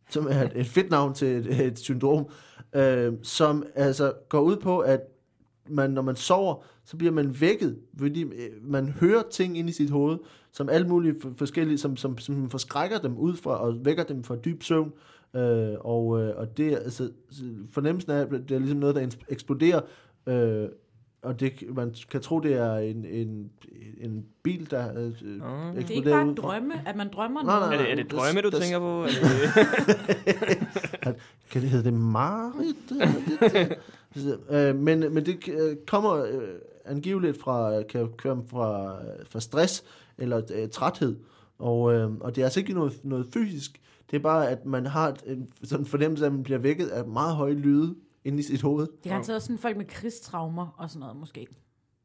A: som er et, et fedt navn til et, et syndrom, øh, som altså går ud på, at man, når man sover, så bliver man vækket, fordi øh, man hører ting ind i sit hoved, som alt muligt for, forskellige, som, som, som forskrækker dem ud fra, og vækker dem fra dyb søvn, øh, og, øh, og det er altså, fornemmelsen af, at det er ligesom noget, der ens- eksploderer, øh, og det, man kan tro, det er en, en, en bil, der øh, eksploderer
B: Det er ikke bare
A: ud fra-
B: drømme, at man drømmer
A: Nej,
B: noget.
A: nej,
C: Er det, er det drømme, du
A: Der-
C: tænker på? Er det,
A: Kan det hedde det Marit? øh, men, men det (laughs) øh, kommer øh, angiveligt fra, øh, kan komme fra, øh, fra stress eller øh, træthed. Og, øh, og det er altså ikke noget, noget fysisk. Det er bare, at man har et- en sådan fornemmelse af, at man bliver vækket af meget høje lyde inde i sit hoved.
B: Det er garanteret også sådan folk med krigstraumer og sådan noget måske.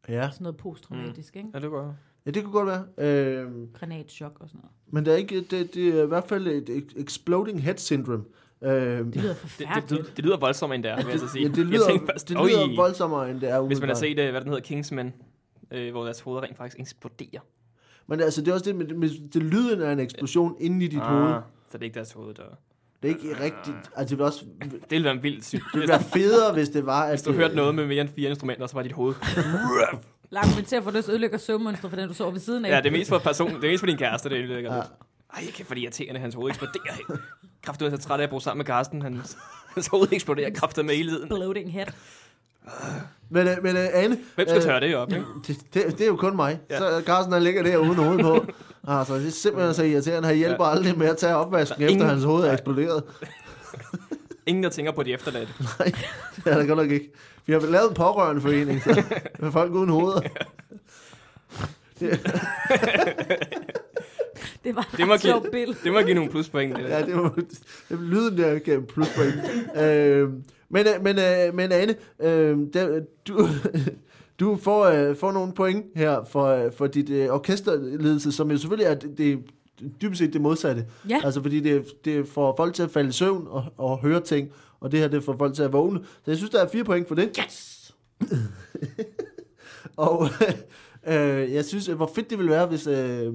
A: Ja,
B: Sådan noget posttraumatisk, mm. ikke?
C: ja, det går.
A: ja det kunne godt være. Øh,
B: Granatschok og sådan noget.
A: men det er, ikke, det, det er i hvert fald et ex- exploding head syndrome. Øh,
B: Det lyder
C: Det,
B: forfærdeligt.
C: det, det, det lyder voldsommere, end det er, vil jeg så sige.
A: ja, det
C: jeg
A: lyder,
C: tænkte først,
A: det
C: "Øj."
A: lyder voldsommere, end det er
C: Hvis man har
A: umiddelbart.
C: set, øh, hvad den hedder, Kingsman, øh, hvor deres hoveder rent faktisk eksploderer.
A: Men altså, det er også det med, med det lyden af en eksplosion inde i dit ah. hoved.
C: Så det er ikke deres hoved, der...
A: Det er ikke rigtigt... Altså, det ville også det
C: Det ville være en vild syg.
A: ville være federe, hvis det var... At
C: Hvis du
A: det-
C: hørte noget med mere end fire instrumenter, så var dit hoved.
B: Langt, men til at få lyst ødelægger søvnmønster for den, du sover ved siden af.
C: Ja, det er mest for personen. Det er mest for din kæreste, det er
A: Ja.
C: ja. Ej, jeg kan fordi irriterende, hans hoved eksploderer. Kraft, du er så træt af at bo sammen med Karsten. Hans, hans hoved eksploderer kraftet med hele tiden.
B: Bloating head.
A: Men, øh, men øh, Anne...
C: Hvem skal
A: øh,
C: tørre det op, ikke?
A: Det, det, det, er jo kun mig. Ja.
C: Ja.
A: Så øh, Carsten, han ligger der uden hoved på. Altså, det er simpelthen så irriterende. Han hjælper ja. aldrig med at tage opvasken,
C: Der
A: efter
C: er ingen-
A: hans hoved er
C: Nej.
A: eksploderet.
C: Ingen, der tænker på de efterladte.
A: Nej, det er der godt nok ikke. Vi har lavet en pårørende forening, så
C: (laughs)
A: med folk uden hoveder.
B: Det var
C: Det
B: det var
C: må give-
B: sjovt billede.
C: Det må give nogle pluspoint. øh. Det.
A: Ja,
C: der.
A: det var det, lyden der gav en pluspoint. øh, men, øh, men, øh, men Anne, øh, der, du, (laughs) du får, øh, får nogle point her for, øh, for dit øh, orkesterledelse, som jo selvfølgelig er det, det dybest set det modsatte.
B: Ja.
A: Altså fordi det, det får folk til at falde i søvn og, og høre ting, og det her det får folk til at vågne. Så jeg synes, der er fire point for det. Yes! (laughs) og øh, jeg synes, øh, hvor fedt det ville være, hvis... Øh,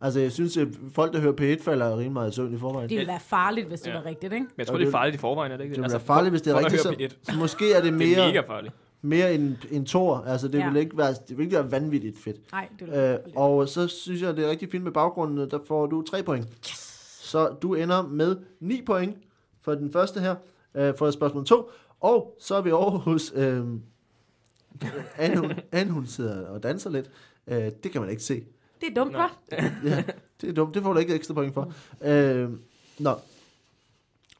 A: altså jeg synes, at folk, der hører P1, falder rimelig meget i søvn i forvejen.
B: Det ville være farligt, hvis det
C: Ja.
B: var rigtigt, ikke?
C: Men jeg tror,
A: Og
C: det
A: det-
C: er farligt i forvejen, er det ikke
A: Det ville
C: Altså,
A: være farligt, hvis det er
C: folk, der
A: rigtigt.
C: hører
A: (laughs) Så, så måske er det
C: P1. Det er
A: mere,
C: mega farligt.
A: mere en, en tor. Altså, det, ja.
B: Ja.
A: vil ikke være, det vil ikke være vanvittigt fedt.
B: Nej, det ville være
A: Øh,
B: farligt.
A: og så synes jeg, det er rigtig fint med baggrunden. Der får du tre point. Yes. Så du ender med 9 point (laughs) for den første her, øh, for spørgsmål 2. Og så er vi over hos øh, Anne, hun, Anne, hun sidder og danser lidt. Øh, det kan man ikke se.
B: Det er dumt,
C: Nå.
B: hva'?
A: Ja, det er dumt. Det får du ikke ekstra point for. Øh, nå.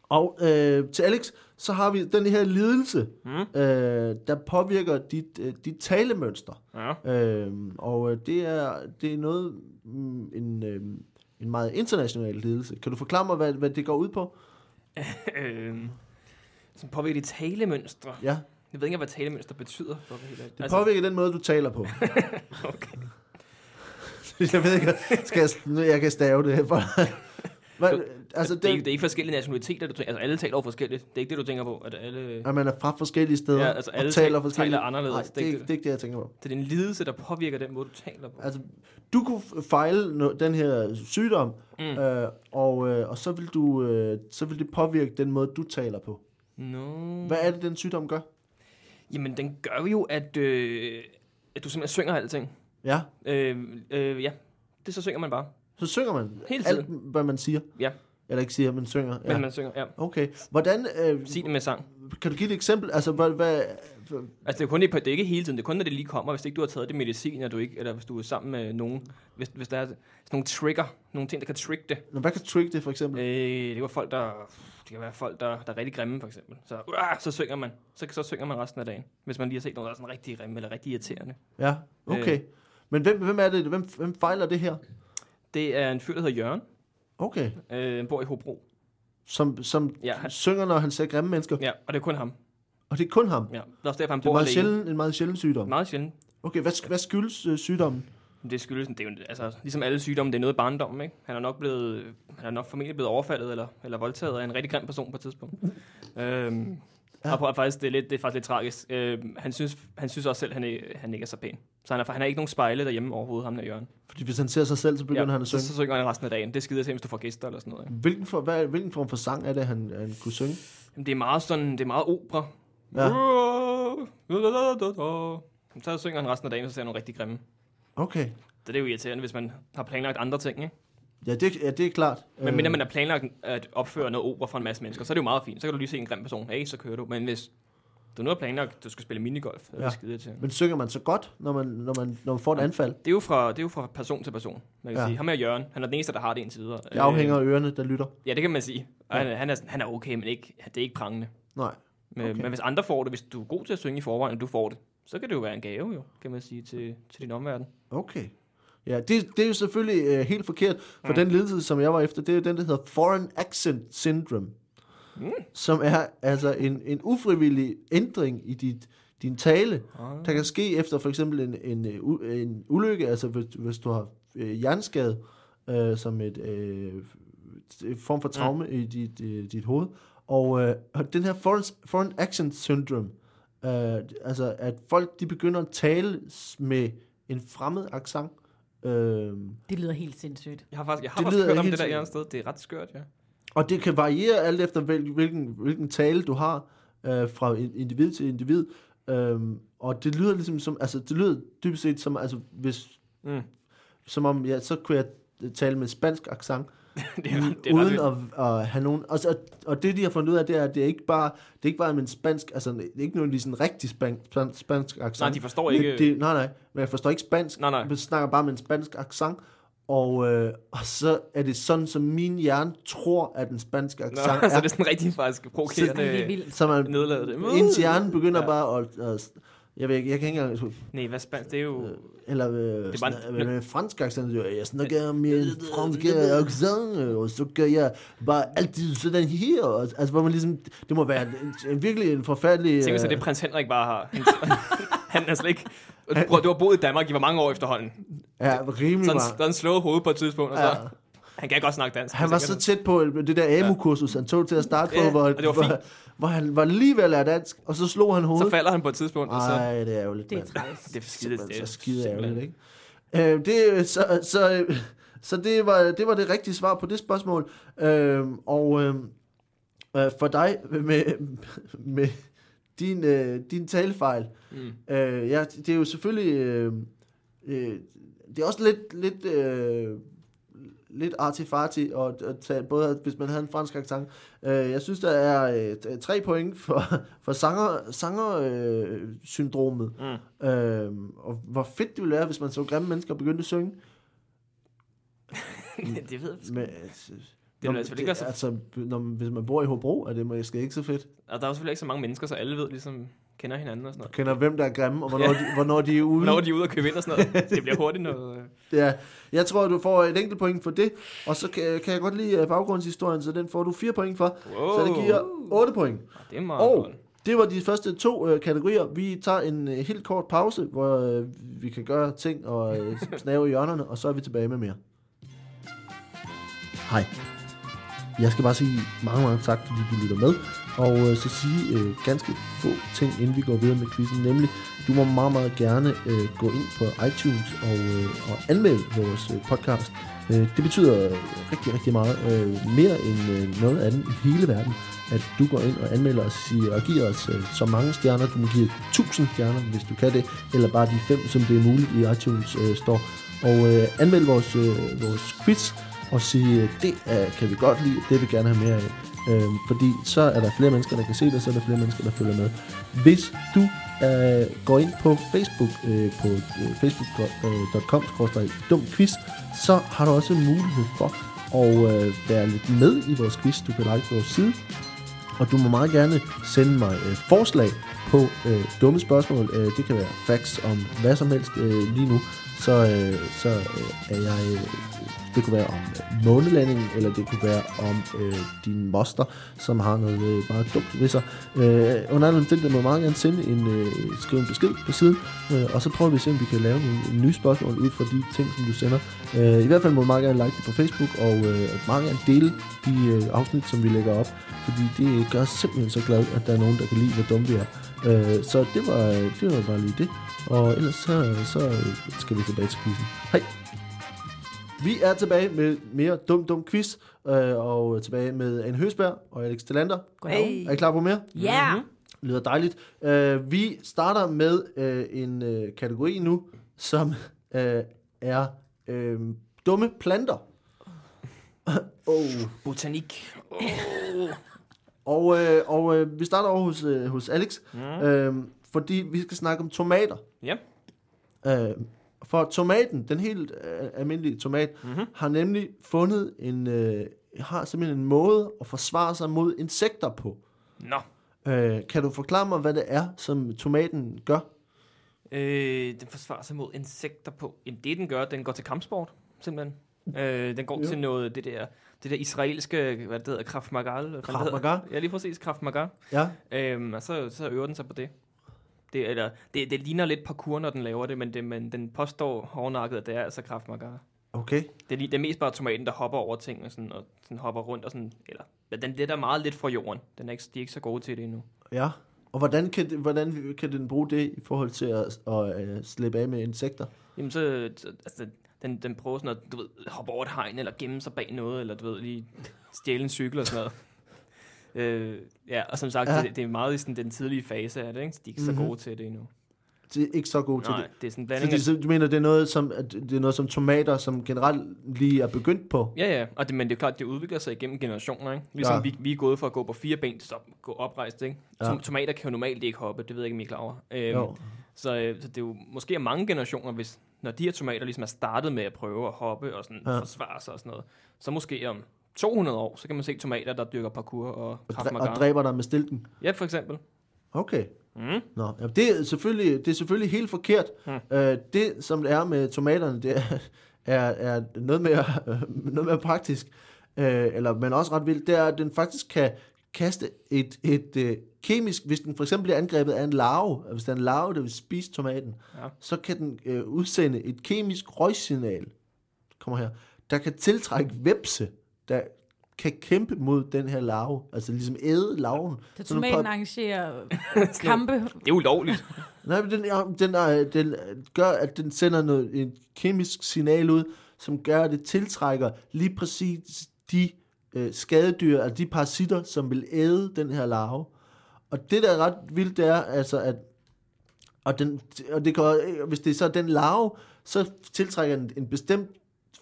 A: Og øh, til Alex, så har vi den her lidelse,
C: Mm.
A: øh, der påvirker dit, øh, dit talemønster.
C: Ja.
A: Øhm, og øh, det er, det er noget, mm, en, øhm, en meget international ledelse. Kan du forklare mig, hvad, hvad det går ud på?
C: Øhm, som påvirker de talemønstre.
A: Ja,
C: Jeg ved ikke, hvad talemønster betyder. For at være helt ærlig.
A: det altså, påvirker den måde, du taler
C: (laughs)
A: på.
C: okay.
A: jeg ved ikke, skal jeg, nu, jeg kan stave det her for dig. Hvad,
C: Du-
A: altså,
C: det, er, ikke-
A: det,
C: det er ikke forskellige nationaliteter, du tænker. Altså, alle taler over forskelligt. Det er ikke det, du tænker på. At alle,
A: at man er fra forskellige steder
C: Ja, altså, alle
A: og taler
C: taler
A: forskelligt.
C: anderledes.
A: Nej,
C: Det er
A: det, er
C: ikke
A: ikke-
C: det.
A: det er ikke det, jeg tænker på.
C: det er en lidelse, der påvirker den måde, du taler på.
A: Altså, du kunne f- fejle no, den her sygdom, mm.
C: Mm.
A: øh, og, øh, og så, vil du, øh, så vil det påvirke den måde, du taler på.
C: Mm. No.
A: Hvad er det, den sygdom gør?
C: Jamen, den gør jo, at, øh, at du simpelthen synger alting.
A: Ja,
C: Øh, øh, ja, det så synger man bare.
A: så synger man
C: Hele
A: alt, hvad man siger.
C: Ja,
A: Eller ikke siger, men synger.
C: men
A: Ja.
C: man synger. Ja.
A: Okay. Hvordan, øh,
C: Sig det med sang.
A: kan du give et eksempel? Altså, hvad, hvad,
C: Altså, det er, kun, i- det er ikke hele tiden. Det er kun, når det lige kommer. Hvis ikke du har taget det medicin, og du ikke, eller hvis du er sammen med nogen. Hvis, hvis der er sådan nogle trigger, nogle ting, der kan trigge det.
A: nå, hvad kan trick det for eksempel?
C: Øh, det var folk, der... Det kan være folk, der, der er rigtig grimme, for eksempel. Så, uh, så synger man. Så, så synger man resten af dagen. Hvis man lige har set noget, der er sådan rigtig grimme eller rigtig irriterende.
A: Ja, okay.
C: øh.
A: Men hvem, hvem er det? Hvem, hvem fejler det her?
C: Det er en fyr, der hedder Jørgen.
A: Okay.
C: Øh, han bor i Hobro.
A: Som, som
C: Ja,
A: han...
C: han-
A: synger, når han ser grimme mennesker.
C: Ja, og det er kun ham.
A: Og det er kun ham. Det
C: Ja, det er også derfor, han
A: er
C: bor
A: meget
C: alene.
A: sjældent, en meget sjælden sygdom.
C: Meget sjældent.
A: Okay, hvad, sk- hvad skyldes øh, sygdommen?
C: Men Det skyldes, det er jo, altså, ligesom alle sygdomme, det er noget i barndommen, ikke? Han er nok blevet, han er nok formentlig blevet overfaldet eller, eller voldtaget af en rigtig grim person på et tidspunkt. øhm,
A: Ja.
C: ja. Og på, faktisk, det er, lidt, det er faktisk lidt tragisk. Øhm, han, synes, han synes også selv, han, er, han ikke er så pæn. Så han, er, han har ikke nogen spejle derhjemme overhovedet, ham der Jørgen.
A: Fordi hvis han ser sig selv, så begynder ja, han at
C: så,
A: synge.
C: så, synger han resten af dagen. Det skider til, hvis du får gæster eller sådan noget. Ikke?
A: Hvilken, for, hvad, hvilken form for sang er det, han, han kunne synge?
C: Jamen, det er meget sådan, det er meget opera.
A: Ja.
C: Ja. Så synger han resten af dagen, så ser han nogle rigtig grimme.
A: Okay.
C: Så det er jo irriterende, hvis man har planlagt andre ting, ikke?
A: Ja, det, ja, det er klart. Øh,
C: Men mindre man har planlagt at opføre noget opera for en masse mennesker, så er det jo meget fint. Så kan du lige se en grim person. Hey, så kører du. Men hvis du nu har planlagt, at du skal spille minigolf, så er det
A: Ja.
C: ja. skide til.
A: men synger man så godt, når man, når man, når man får et anfald?
C: Det er, jo fra, det er jo fra person til person, man kan
A: Ja.
C: ja. sige. Ham er Jørgen. Han er den eneste, der har det indtil videre.
A: Det afhænger af ørerne, der lytter.
C: Øh, ja, det kan man sige. Og han, er- han, er, sådan- han er okay, men ikke, det er ikke prangende.
A: Nej.
C: Men,
A: Okay.
C: okay. men hvis andre får det, hvis du er god til at synge i forvejen, og du får det, så kan det jo være en gave, jo, kan man sige, til, til din omverden.
A: Okay. Ja, det, det er jo selvfølgelig øh, helt forkert, for mm. den lidelse, som jeg var efter, det er jo den, der hedder Foreign Accent Syndrome, mm. som er altså en, en ufrivillig ændring i dit, din tale, ah. der kan ske efter for eksempel en, en, øh, u- en ulykke, altså hvis, hvis du har øh, hjerneskade øh, som et øh, en form for traume mm. i dit, øh, dit hoved, og, øh, og den her Foreign, foreign Accent Syndrome, Øh, altså, at folk de begynder at tale s- med en fremmed accent. Øh,
B: Det lyder helt sindssygt.
C: Jeg har faktisk, jeg har
A: Det
C: det
A: lyder
C: faktisk hørt om
A: helt
C: det der
A: sikkert.
C: et eller andet sted. Det er ret skørt, ja. (laughs)
A: og det kan variere alt efter, hvil- hvilken, hvilken tale du har øh, fra in- individ til individ. Øh, og det lyder ligesom som, altså, det lyder dybest set som, altså, hvis,
C: Mm.
A: som om, ja, så kunne jeg tale med spansk accent,
C: det er, ret- det er ret
A: uden
C: vildt.
A: at, at, have nogen... Og, så, og det, de har fundet ud af, det er, at det er ikke bare, det er ikke bare med en spansk... Altså, det er ikke nogen sådan rigtig spansk, spansk, spansk accent.
C: Nej, de forstår
A: Men
C: ikke-
A: Det, nej, nej. Men jeg forstår ikke spansk.
C: Nej, nej.
A: Jeg snakker bare med en spansk accent. Og, øh, og så er det sådan, som min hjerne tror, at en spansk accent
C: Nå, (laughs)
A: er.
C: så det er sådan rigtig faktisk provokerende.
B: Det er vildt.
A: så man,
C: nedlader det.
A: ens hjerne begynder ja.
C: Uh, Ja.
A: bare at... at jeg, ved, ikke, jeg kan ikke engang...
C: Nej, hvad spansk? Det er jo...
A: Eller øh,
C: er
A: sådan,
C: bare-
A: øh, med fransk accent, jo, jeg snakker med en fransk accent, øh, og så gør jeg bare altid sådan her. Og, altså, hvor man ligesom, det må være en, en virkelig en forfærdelig...
C: Tænk hvis, at det
A: øh,
C: prins Henrik bare har. (laughs) han er slet ikke... Prøv, du har boet i Danmark i hvor mange år efterhånden?
A: ja, rimelig
C: Så han,
A: meget.
C: så han slået hovedet på et tidspunkt, og så...
A: Ja.
C: Ja. Han kan godt snakke dansk. altså,
A: Han var så tæt på øh, det der AMU-kursus, han tog til at starte på,
C: Ja,
A: hvor,
C: og det var
A: hvor,
C: fint.
A: hvor han var lige ved at lære dansk, og så slog han
C: så
A: hovedet.
C: falder han på et tidspunkt, og så...
A: Nej, det er jo lidt
B: Det er træls.
C: Det er skide, det er
A: så skide
C: simpelthen-
A: ærgerligt, ikke? Øh, det, så, så, så det, var, det var det rigtige svar på det spørgsmål. Øh, og øh, øh, for dig med, med din, øh, din talefejl, mm. øh, ja, det er jo selvfølgelig... Øh, øh, det er også lidt, lidt, øh, lidt artifarti, og, og tage, både hvis man havde en fransk accent. Øh, jeg synes, der er øh, t- tre point for, for sanger, sanger, øh, syndromet. Mm. Øh, og hvor fedt det ville være, hvis man så grimme mennesker begyndte at synge. Mm.
C: (laughs) det ved jeg sgu.
A: Men, altså,
C: ville altså ikke være så-
A: altså, når, hvis man bor i Hobro, er det måske ikke så fedt.
C: Og der er jo selvfølgelig ikke så mange mennesker, så alle ved ligesom kender hinanden og sådan noget.
A: Kender hvem, der er grimme, og hvornår, de, hvornår de
C: (laughs)
A: er ude.
C: Hvornår er de ude og købe ind og sådan
A: (laughs)
C: noget? Det bliver hurtigt noget. øh.
A: Ja, jeg tror, du får et enkelt point for det, og så kan, kan jeg godt lide øh, baggrundshistorien, så den får du fire point for,
C: Wow.
A: så det giver 8 point.
C: Det er meget
A: Og
C: godt.
A: det var de første to øh, kategorier. Vi tager en øh, helt kort pause, hvor øh, vi kan gøre ting og øh, snave i hjørnerne, og så er vi tilbage med mere. Hej. Jeg skal bare sige mange, mange tak, fordi du lytter med. Og øh, så sige øh, ganske få ting, inden vi går videre med quizzen. Nemlig, du må meget, meget gerne øh, gå ind på iTunes og, øh, og anmelde vores øh, podcast. Øh, det betyder øh, rigtig, rigtig meget. Øh, mere end øh, noget andet i hele verden, at du går ind og anmelder os siger, og giver os øh, så mange stjerner. Du må give 1000 stjerner, hvis du kan det. Eller bare de fem, som det er muligt i iTunes øh, Store. Og øh, anmeld vores, øh, vores quiz og sige, det er, kan vi godt lide, det vil vi gerne have mere af. Øhm, fordi så er der flere mennesker, der kan se det, så er der flere mennesker, der følger med. Hvis du øh, går ind på Facebook, øh, på øh, facebook.com, dum quiz, så har du også en mulighed for at øh, være lidt med i vores quiz. Du kan like vores side, og du må meget gerne sende mig øh, forslag på øh, dumme spørgsmål. Øh, det kan være facts om hvad som helst øh, lige nu. Så, øh, så øh, er jeg... Øh, det kunne være om øh, månelandingen, eller det kunne være om øh, din moster, som har noget øh, meget dumt ved sig. Øh, under alle omstændigheder må jeg meget gerne sende en, øh, skrive en besked på siden, øh, og så prøver vi at se, om vi kan lave nogle nye spørgsmål ud fra de ting, som du sender. Øh, I hvert fald må du meget gerne like det på Facebook, og øh, meget gerne dele de øh, afsnit, som vi lægger op, fordi det gør os simpelthen så glad, at der er nogen, der kan lide, hvor dumme vi er. Øh, så det var, det var bare lige det, og ellers så, så øh, skal vi tilbage til quizzen. Hej! Vi er tilbage med mere Dum Dum Quiz, øh, og tilbage med Anne Høsberg og Alex Delander.
B: Goddag.
A: Er I klar på mere?
B: Ja.
C: Mhm.
A: Det lyder dejligt. Øh, vi starter med øh, en øh, kategori nu, som øh, er øh, dumme planter. (laughs) oh.
C: Botanik.
A: Og, øh, og øh, vi starter over hos, øh, hos Alex, mm. øh, fordi vi skal snakke om tomater.
C: Ja.
A: Øh, for tomaten, den helt øh, almindelige tomat, mm-hmm. har nemlig fundet en, øh, har simpelthen en måde at forsvare sig mod insekter på.
C: Nå.
A: Øh, kan du forklare mig, hvad det er, som tomaten gør?
C: Øh, den forsvarer sig mod insekter på. Jamen, det den gør, den går til kampsport, simpelthen. Øh, den går
A: Ja.
C: til noget, det der, det der israelske, hvad det hedder, Krav Maga. eller hvad fanden
A: Krav
C: det hedder.
A: Maga?
C: Ja, lige præcis, Krav Maga.
A: Ja.
C: Øhm, og så, så øver den sig på det. Det, eller, det, det ligner lidt parkour, når den laver det, men, det, men den påstår hårdnakket, at det er altså Krav Maga.
A: Okay.
C: Det er, lige- det er mest bare tomaten, der hopper over ting og, sådan, og sådan hopper rundt. Og sådan, eller, men den letter meget lidt fra jorden. Den er ikke, de er ikke så gode til det endnu.
A: Ja. Og hvordan kan, det- hvordan kan den bruge det i forhold til at, at øh, slippe af med insekter?
C: Jamen så, så- altså, den, den prøver sådan at, du ved, hoppe over et hegn, eller gemme sig bag noget, eller du ved, lige stjæle en cykel og sådan noget. øh, ja, og som sagt,
A: Ja.
C: ja. det, det, er meget i sådan, den tidlige fase af det, ikke? Så de er ikke så
A: Mhm.
C: gode til det endnu.
A: Det er ikke så godt til
C: Nej,
A: det.
C: det. det er sådan en blanding
A: Fordi
C: af...
A: så, du mener, det er, noget, som, at det er noget som tomater, som generelt lige er begyndt på?
C: Ja, ja, og det, men det er klart, det udvikler sig igennem generationer, ikke? Ligesom
A: Ja.
C: ja. vi, vi er gået fra at gå på fire ben til så at gå oprejst, ikke?
A: Ja.
C: Ja. Tomater kan jo normalt ikke hoppe, det ved jeg ikke, om I er klar over. Øhm,
A: Jo.
C: Så, øh, så det er jo måske er mange generationer, hvis når de her tomater ligesom er startet med at prøve at hoppe og sådan
A: Ja.
C: ja. forsvare sig og sådan noget, så måske om 200 år, så kan man se tomater, der dyrker parkour og
A: Og,
C: Krav
A: dræ-
C: Maga.
A: og dræber dig med stilken?
C: Ja, for eksempel.
A: Okay.
C: Mm.
A: Nå, ja, det, er selvfølgelig, det er selvfølgelig helt forkert. Hmm. Øh, det, som det er med tomaterne, det er, er, er noget, mere, (laughs) noget mere praktisk, øh, eller, men også ret vildt, det er, at den faktisk kan kaste et, et øh, kemisk, hvis den for eksempel bliver angrebet af en larve, hvis der er en larve, der vil spise tomaten, ja.
C: Ja.
A: så kan den øh, udsende et kemisk røgsignal, kommer her, der kan tiltrække vepse, der kan kæmpe mod den her larve, altså ligesom æde larven.
B: Så
A: Så nu
B: tomaten
A: prøver-
C: (laughs)
B: arrangerer kampe.
C: Det er ulovligt.
A: Nej, men den, ja, den, er, den gør, at den sender noget, et kemisk signal ud, som gør, at det tiltrækker lige præcis de øh, skadedyr, altså de parasitter, som vil æde den her larve. Og det, der er ret vildt, det er altså, at og, den, og det kan, hvis det er så den larve, så tiltrækker den en bestemt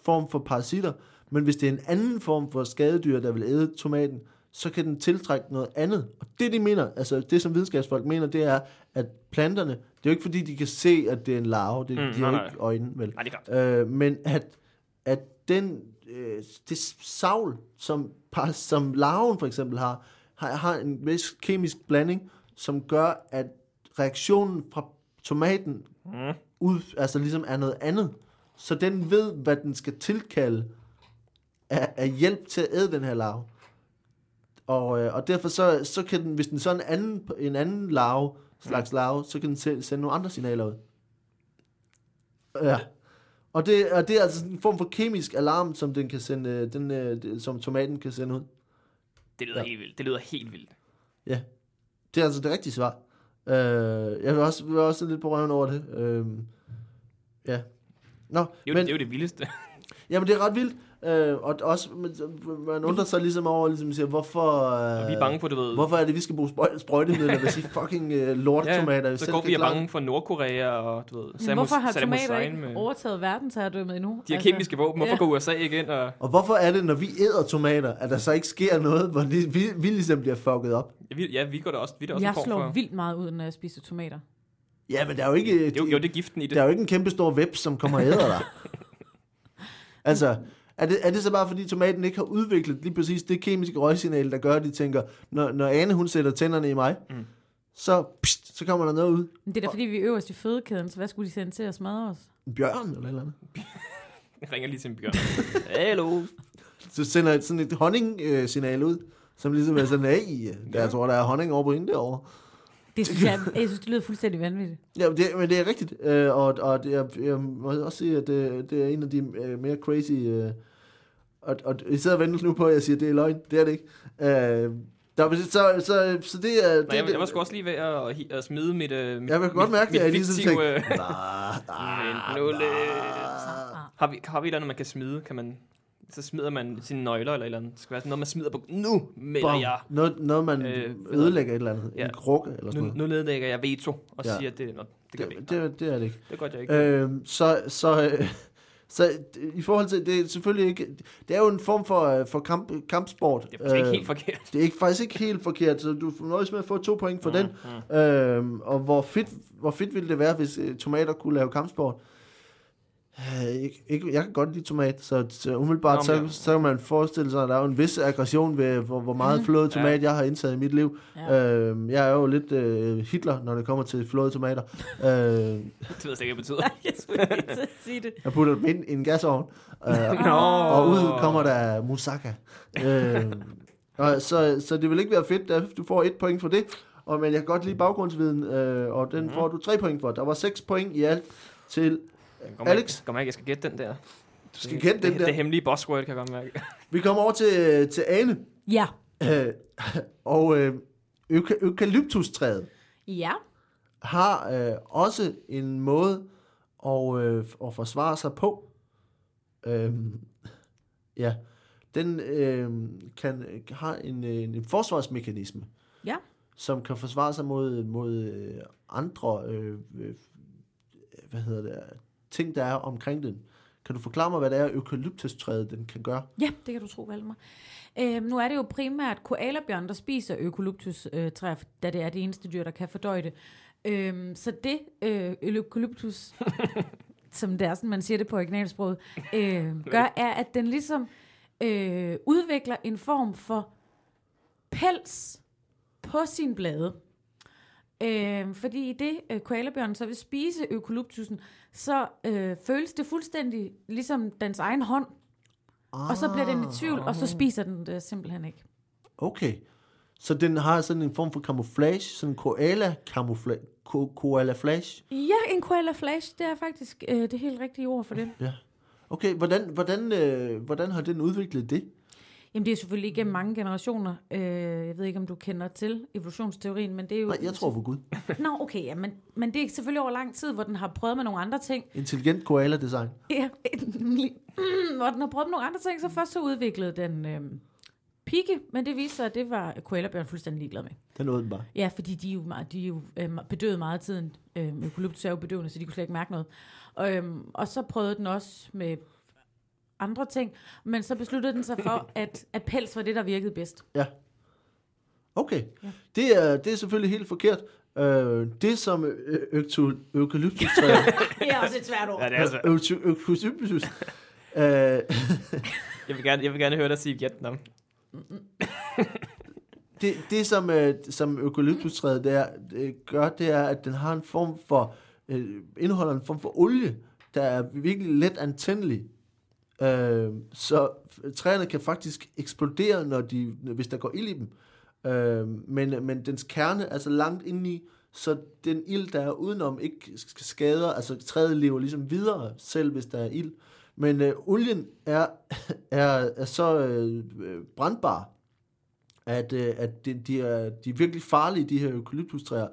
A: form for parasitter, men hvis det er en anden form for skadedyr, der vil æde tomaten, så kan den tiltrække noget andet. Og det, de mener, altså det, som videnskabsfolk mener, det er, at planterne, det er jo ikke fordi, de kan se, at det er en larve, det, mm, de har
C: nej,
A: jo
C: nej.
A: ikke øjne, vel?
C: Nej, det er klart.
A: Øh, men at, at den, øh, det savl, som, par- som larven for eksempel har, har, har en vis kemisk blanding, som gør, at reaktionen fra tomaten
C: Mm.
A: ud, altså ligesom er noget andet. Så den ved, hvad den skal tilkalde af, af hjælp til at æde den her larve. Og, øh, og derfor så, så kan den, hvis den så er en anden, en anden larve, slags larve, så kan den se- sende nogle andre signaler ud. Ja. Og det, og det er altså sådan en form for kemisk alarm, som den kan sende, øh, den, øh, det- som tomaten kan sende ud.
C: Det lyder
A: Ja.
C: helt vildt. Det lyder helt vildt.
A: Ja, det er altså det rigtige svar. Øh, jeg vil også, vil også lidt på røven over det. Øh, ja. Nå,
C: Det er jo, men,
A: men,
C: det, er jo det vildeste.
A: Jamen, det er ret vildt. Øh, og også, men, så- man undrer sig ligesom over, ligesom siger, hvorfor, øh,
C: vi er bange for, du ved...
A: hvorfor er det, vi skal bruge sprøj- sprøjtemidler, hvis I fucking øh, lortetomater,
C: ja,
A: vi
C: så
A: selv
C: går
A: kan
C: vi er
A: klare?
C: bange for Nordkorea og du ved,
B: Men
C: Samus,
B: hvorfor har
C: Saddam
B: tomater
C: Hussein
B: ikke
C: med-
B: overtaget verdensherredømmet endnu? Altså,
C: De har kemiske våben. Hvorfor går USA ikke ind og...
A: Og hvorfor er det, når vi æder tomater, at der så ikke sker noget, hvor de, vi, vi ligesom bliver fucket op?
C: Ja, vi, ja, vi går da også, vi er da også
B: Jeg
C: en form
B: slår
C: for...
B: vildt meget ud, når jeg spiser tomater.
A: Ja, men der er jo ikke,
C: Det er jo, jo, det er giften i det.
A: der er jo ikke en kæmpe stor web, som kommer og æder dig. altså, er det, er det så bare fordi tomaten ikke har udviklet lige præcis det kemiske røgsignal, der gør, at de tænker, når, når Ane hun sætter tænderne i mig, mm. så, pst, så kommer der noget ud.
B: Men det er da fordi, vi er øverst i fødekæden, så hvad skulle de sende til at smadre os?
A: En bjørn eller et eller andet.
C: Jeg ringer lige til en
A: (laughs)
C: bjørn. Hallo.
A: så sender et, sådan et honning-signal ud, som ligesom er sådan, hey, der, jeg tror, der er honning over på hende derovre.
B: Det synes jeg,
C: (laughs)
B: jeg synes, det lyder fuldstændig vanvittigt.
A: Ja, men det, men det er rigtigt, øh, og, og det er, jeg må også sige, at det, det er en af de øh, mere crazy... Øh, og, og I sidder og venter nu på, at jeg siger, at det er løgn. Det er det ikke. Øh, der, er- så, så, så, så det er...
C: Nej, jeg,
A: det,
C: jeg var sgu også lige ved at, at, hi- at smide mit... Uh, mit
A: Jeg vil godt
C: mit-
A: mærke,
C: mit
A: at jeg lige sådan
C: fiktive, øh, (laughs)
A: tænkte... "Ah, ah,
C: Vent nu lidt."
A: ah."
C: Har vi, har vi et eller andet, man kan smide? Kan man, så smider man sine nøgler eller et eller andet. Det skal være sådan noget, man smider på. Nu melder
A: Bom.
C: jeg.
A: Noget, noget, man
C: Øh, ved
A: ødelægger et eller andet.
C: Ja.
A: En krukke eller sådan
C: Nu,
A: noget.
C: nu nedlægger jeg veto og
A: Ja.
C: ja. siger, at det, nå, det gør vi ikke.
A: Det, det, det er det ikke.
C: Det gør jeg ikke.
A: Øhm, så, så, (laughs) øh, så øh, i forhold til, det er selvfølgelig ikke, det er jo en form for, øh, for kamp, kampsport.
C: det er øh, ikke
A: Øh,
C: helt forkert. (laughs)
A: det er ikke, faktisk ikke helt forkert, så du nøjes med at få to point for mm, den. Mm. Øhm, og hvor fedt, hvor fedt ville det være, hvis øh, tomater kunne lave kampsport? Øh, ikke, ikke, jeg kan godt lide tomat, så, så umiddelbart,
C: Nå,
A: så,
C: men-
A: så kan man forestille sig, at der er jo en vis aggression ved, hvor, hvor meget flået tomat, jeg har indtaget i mit liv. Ja.
C: Øh.
B: Ja.
A: Øhm, jeg er jo lidt øh, Hitler, når det kommer til flåede tomater. øh,
C: Det ved jeg slet ikke, hvad det betyder.
B: Nej, (laughs) jeg skulle ikke til at sige det.
A: jeg putter dem ind i en gasovn, øh,
C: Nå.
A: Og ud kommer der Musaka. Øh, og så, så det vil ikke være fedt, at du får et point for det. Og, men jeg kan godt lide baggrundsviden, øh, og den får du tre point for. Der var seks point i alt til...
C: Jeg kan godt
A: Alex?
C: mærke- jeg kan godt mærke, jeg skal gætte den der.
A: Du skal kende den
C: det, det
A: der.
C: hemmelige buzzword, kan jeg godt
A: (laughs)
C: mærke.
A: Vi kommer over til, til Ane.
B: Ja.
A: Øh, og øh, euka- eukalyptustræet
B: Ja.
A: har øh, også en måde at, øh, at forsvare sig på. Øhm, ja, den øh, kan, har en, øh, en forsvarsmekanisme,
B: Ja.
A: som kan forsvare sig mod, mod øh, andre øh, øh, hvad hedder det, ting, der er omkring den. Kan du forklare mig, hvad det er, eukalyptustræet den kan gøre?
B: Ja, det kan du tro, Valmer. Øhm, nu er det jo primært koalabjørn, der spiser eukalyptus-træer, da det er det eneste dyr, der kan fordøje det. Øhm, så det øh, eukalyptus, som det er sådan, man siger det på originalsproget, øh, gør, er, at den ligesom øh, udvikler en form for pels på sine blade. Øh, fordi i det, øh, koalabjørnen så vil spise eukalyptusen, så øh, føles det fuldstændig ligesom dens egen hånd, og så bliver den i tvivl, og så spiser den det simpelthen ikke.
A: Ah, Okay. Så den har sådan en form for camouflage, sådan en koala-camouflage. Ko- koala-flage.
B: Ja, en koala flash, det er faktisk øh, det helt rigtige ord for det.
A: Ja. Okay, hvordan, hvordan, øh, hvordan har den udviklet det?
B: Jamen det er selvfølgelig
A: Mm.
B: igennem mange generationer. Øh, jeg ved ikke, om du kender til evolutionsteorien, men det er jo...
A: Nej, jeg tror på Gud.
B: Nå, okay, ja, men, men det er selvfølgelig over lang tid, hvor den har prøvet med nogle andre ting. (laughs)
A: Intelligent koala-design.
B: Ja, nemlig. Mm, hvor den har prøvet med nogle andre ting, så først så udviklede den øh, pigge, men det viste sig, at det var koalabjørn fuldstændig ligeglad med.
A: Den åd den bare.
B: Ja, fordi de er jo, meget, de er jo øh, bedøvet meget af tiden. Øhm, Øh, eukalyptus er jo bedøvende, så de kunne slet ikke mærke noget. Og, øhm, og så prøvede den også med andre ting, men så besluttede den sig (laughs) for, at, at pels var det, der virkede bedst.
A: Ja. Okay. Ja. Det, er, det er selvfølgelig helt forkert. Øh, det som ø- øktu- eukalyptustræer...
B: (laughs) Det er også et svært ord.
C: Ja, det er altså.
A: øktu- Eukalyptus... Øh,
C: Jeg vil gerne, jeg vil gerne høre dig sige Vietnam.
A: det, det som, øh, som eukalyptustræet der, øh, gør, det er, at den har en form for... Øh, indeholder en form for olie, der er virkelig let antændelig. Øh, så f- træerne kan faktisk eksplodere, når de, hvis der går ild i dem. Øh, men, men dens kerne er så langt indeni, så den ild, der er udenom, ikke sk- skader, altså træet lever ligesom videre, selv hvis der er ild. Men øh, olien er, (laughs) er, er så øh, øh, brandbar, at, øh, at de, de, er, de er virkelig farlige, de her eukalyptustræer.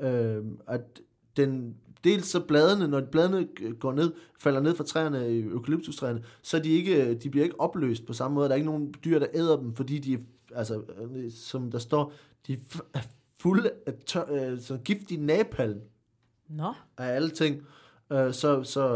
A: Øh, at den, dels så bladene, når bladene g- går ned, falder ned fra træerne, øh, eukalyptustræerne, så er de ikke, øh, de bliver ikke opløst på samme måde. Der er ikke nogen dyr, der æder dem, fordi de, er- altså, øh, som der står, de er fu- er fulde af tør, øh, sådan giftig napalm
B: Nå,
A: af alle ting. Øh, så så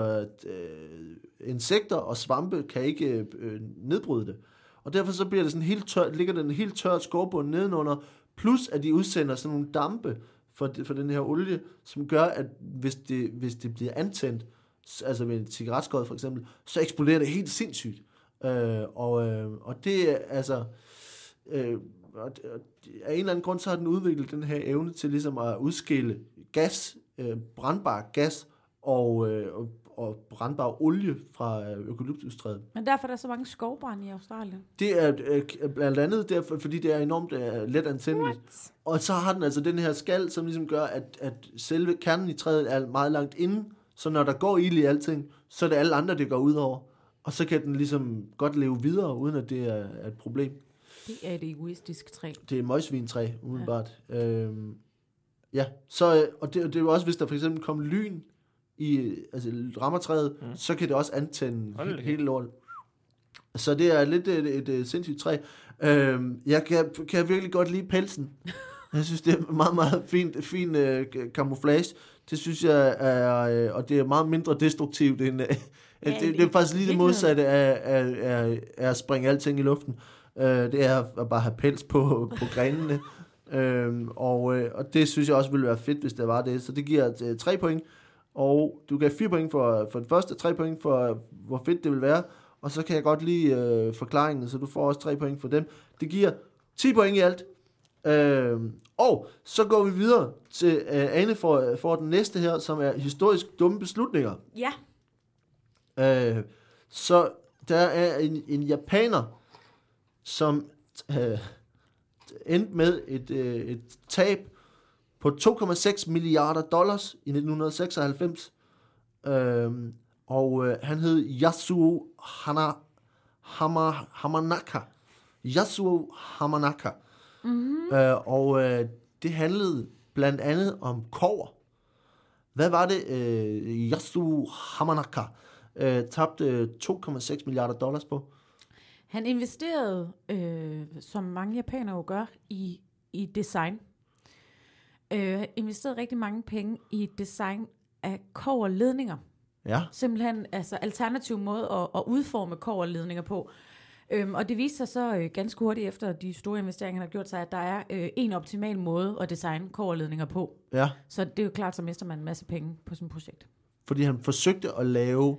A: øh, insekter og svampe kan ikke øh, nedbryde det. Og derfor så bliver det sådan helt tør, ligger den helt tør skovbund nedenunder, plus at de udsender sådan nogle dampe for, det- for den her olie, som gør, at hvis det, hvis det bliver antændt, s- altså ved en cigaretskod for eksempel, så eksploderer det helt sindssygt. Øh, og, øh, og det er altså... Øh, og, og af en eller anden grund, så har den udviklet den her evne til ligesom at udskille gas, øh, brandbar gas og, øh, og, og brandbar olie fra øh, eukalyptustræet.
B: men derfor er der så mange skovbrænde i Australien.
A: Det er øh, blandt andet derfor, fordi det er enormt øh, let antændeligt. Og så har den altså den her skal, som ligesom gør, at, at selve kernen i træet er meget langt inde, så når der går ild i alting, så er det alle andre, det går ud over. Og så kan den ligesom godt leve videre, uden at det er er et problem.
B: Det er et egoistisk træ.
A: Det er møgsvintræ, umiddelbart. Ja, øhm, ja. så, øh, og det, det er jo også, hvis der for eksempel kom lyn i øh, altså, rammer træet, mm. så kan det også antænde
C: Hold da
A: he-
C: kæft.
A: hele lortet. Så det er lidt et, et, et sindssygt træ. Øhm, jeg kan, kan virkelig godt lide pelsen. Jeg synes, det er meget, meget fint, fin øh, camouflage. Det synes jeg er, øh, og det er meget mindre destruktivt end, øh,
B: Ja,
A: det, det,
B: i
A: er faktisk lige det
B: virkeligheden.
A: modsatte af, af, af, af at springe alting i luften. Øh, det er at bare have pels på, (laughs) på grenene. Øhm, og, øh, og det synes jeg også ville være fedt, hvis det var det. Så det giver øh, 3 point. Og du gav 4 point for, for den første, 3 point for, øh, hvor fedt det vil være. Og så kan jeg godt lide øh, forklaringen, så du får også 3 point for dem. Det giver 10 point i alt. Øhm, og så går vi videre til øh, Ane for, for den næste her, som er historisk dumme beslutninger.
B: Ja,
A: Øh, så der er en, en japaner, som øh, endte med et, øh, et tab på 2,6 milliarder dollars i 1996. Øh, og øh, han hed Yasuo Hana, Hama, Hamanaka. Yasuo Hamanaka. Mm-hmm. Øh, og øh, det handlede blandt andet om kover. Hvad var det, øh, Yasuo Hamanaka øh, tabte øh, 2,6 milliarder dollars på?
B: han investerede, øh, som mange japanere jo gør, i, i design. Øh, han investerede rigtig mange penge i design af koverledninger.
A: Ja.
B: Simpelthen altså alternativ måde at, at udforme koverledninger på. Øhm, og det viste sig så øh, ganske hurtigt efter de store investeringer, han har gjort sig, at der er øh, en optimal måde at designe koverledninger på.
A: Ja,
B: Så det er jo klart, så mister man en masse penge på sådan et projekt.
A: fordi han forsøgte at lave...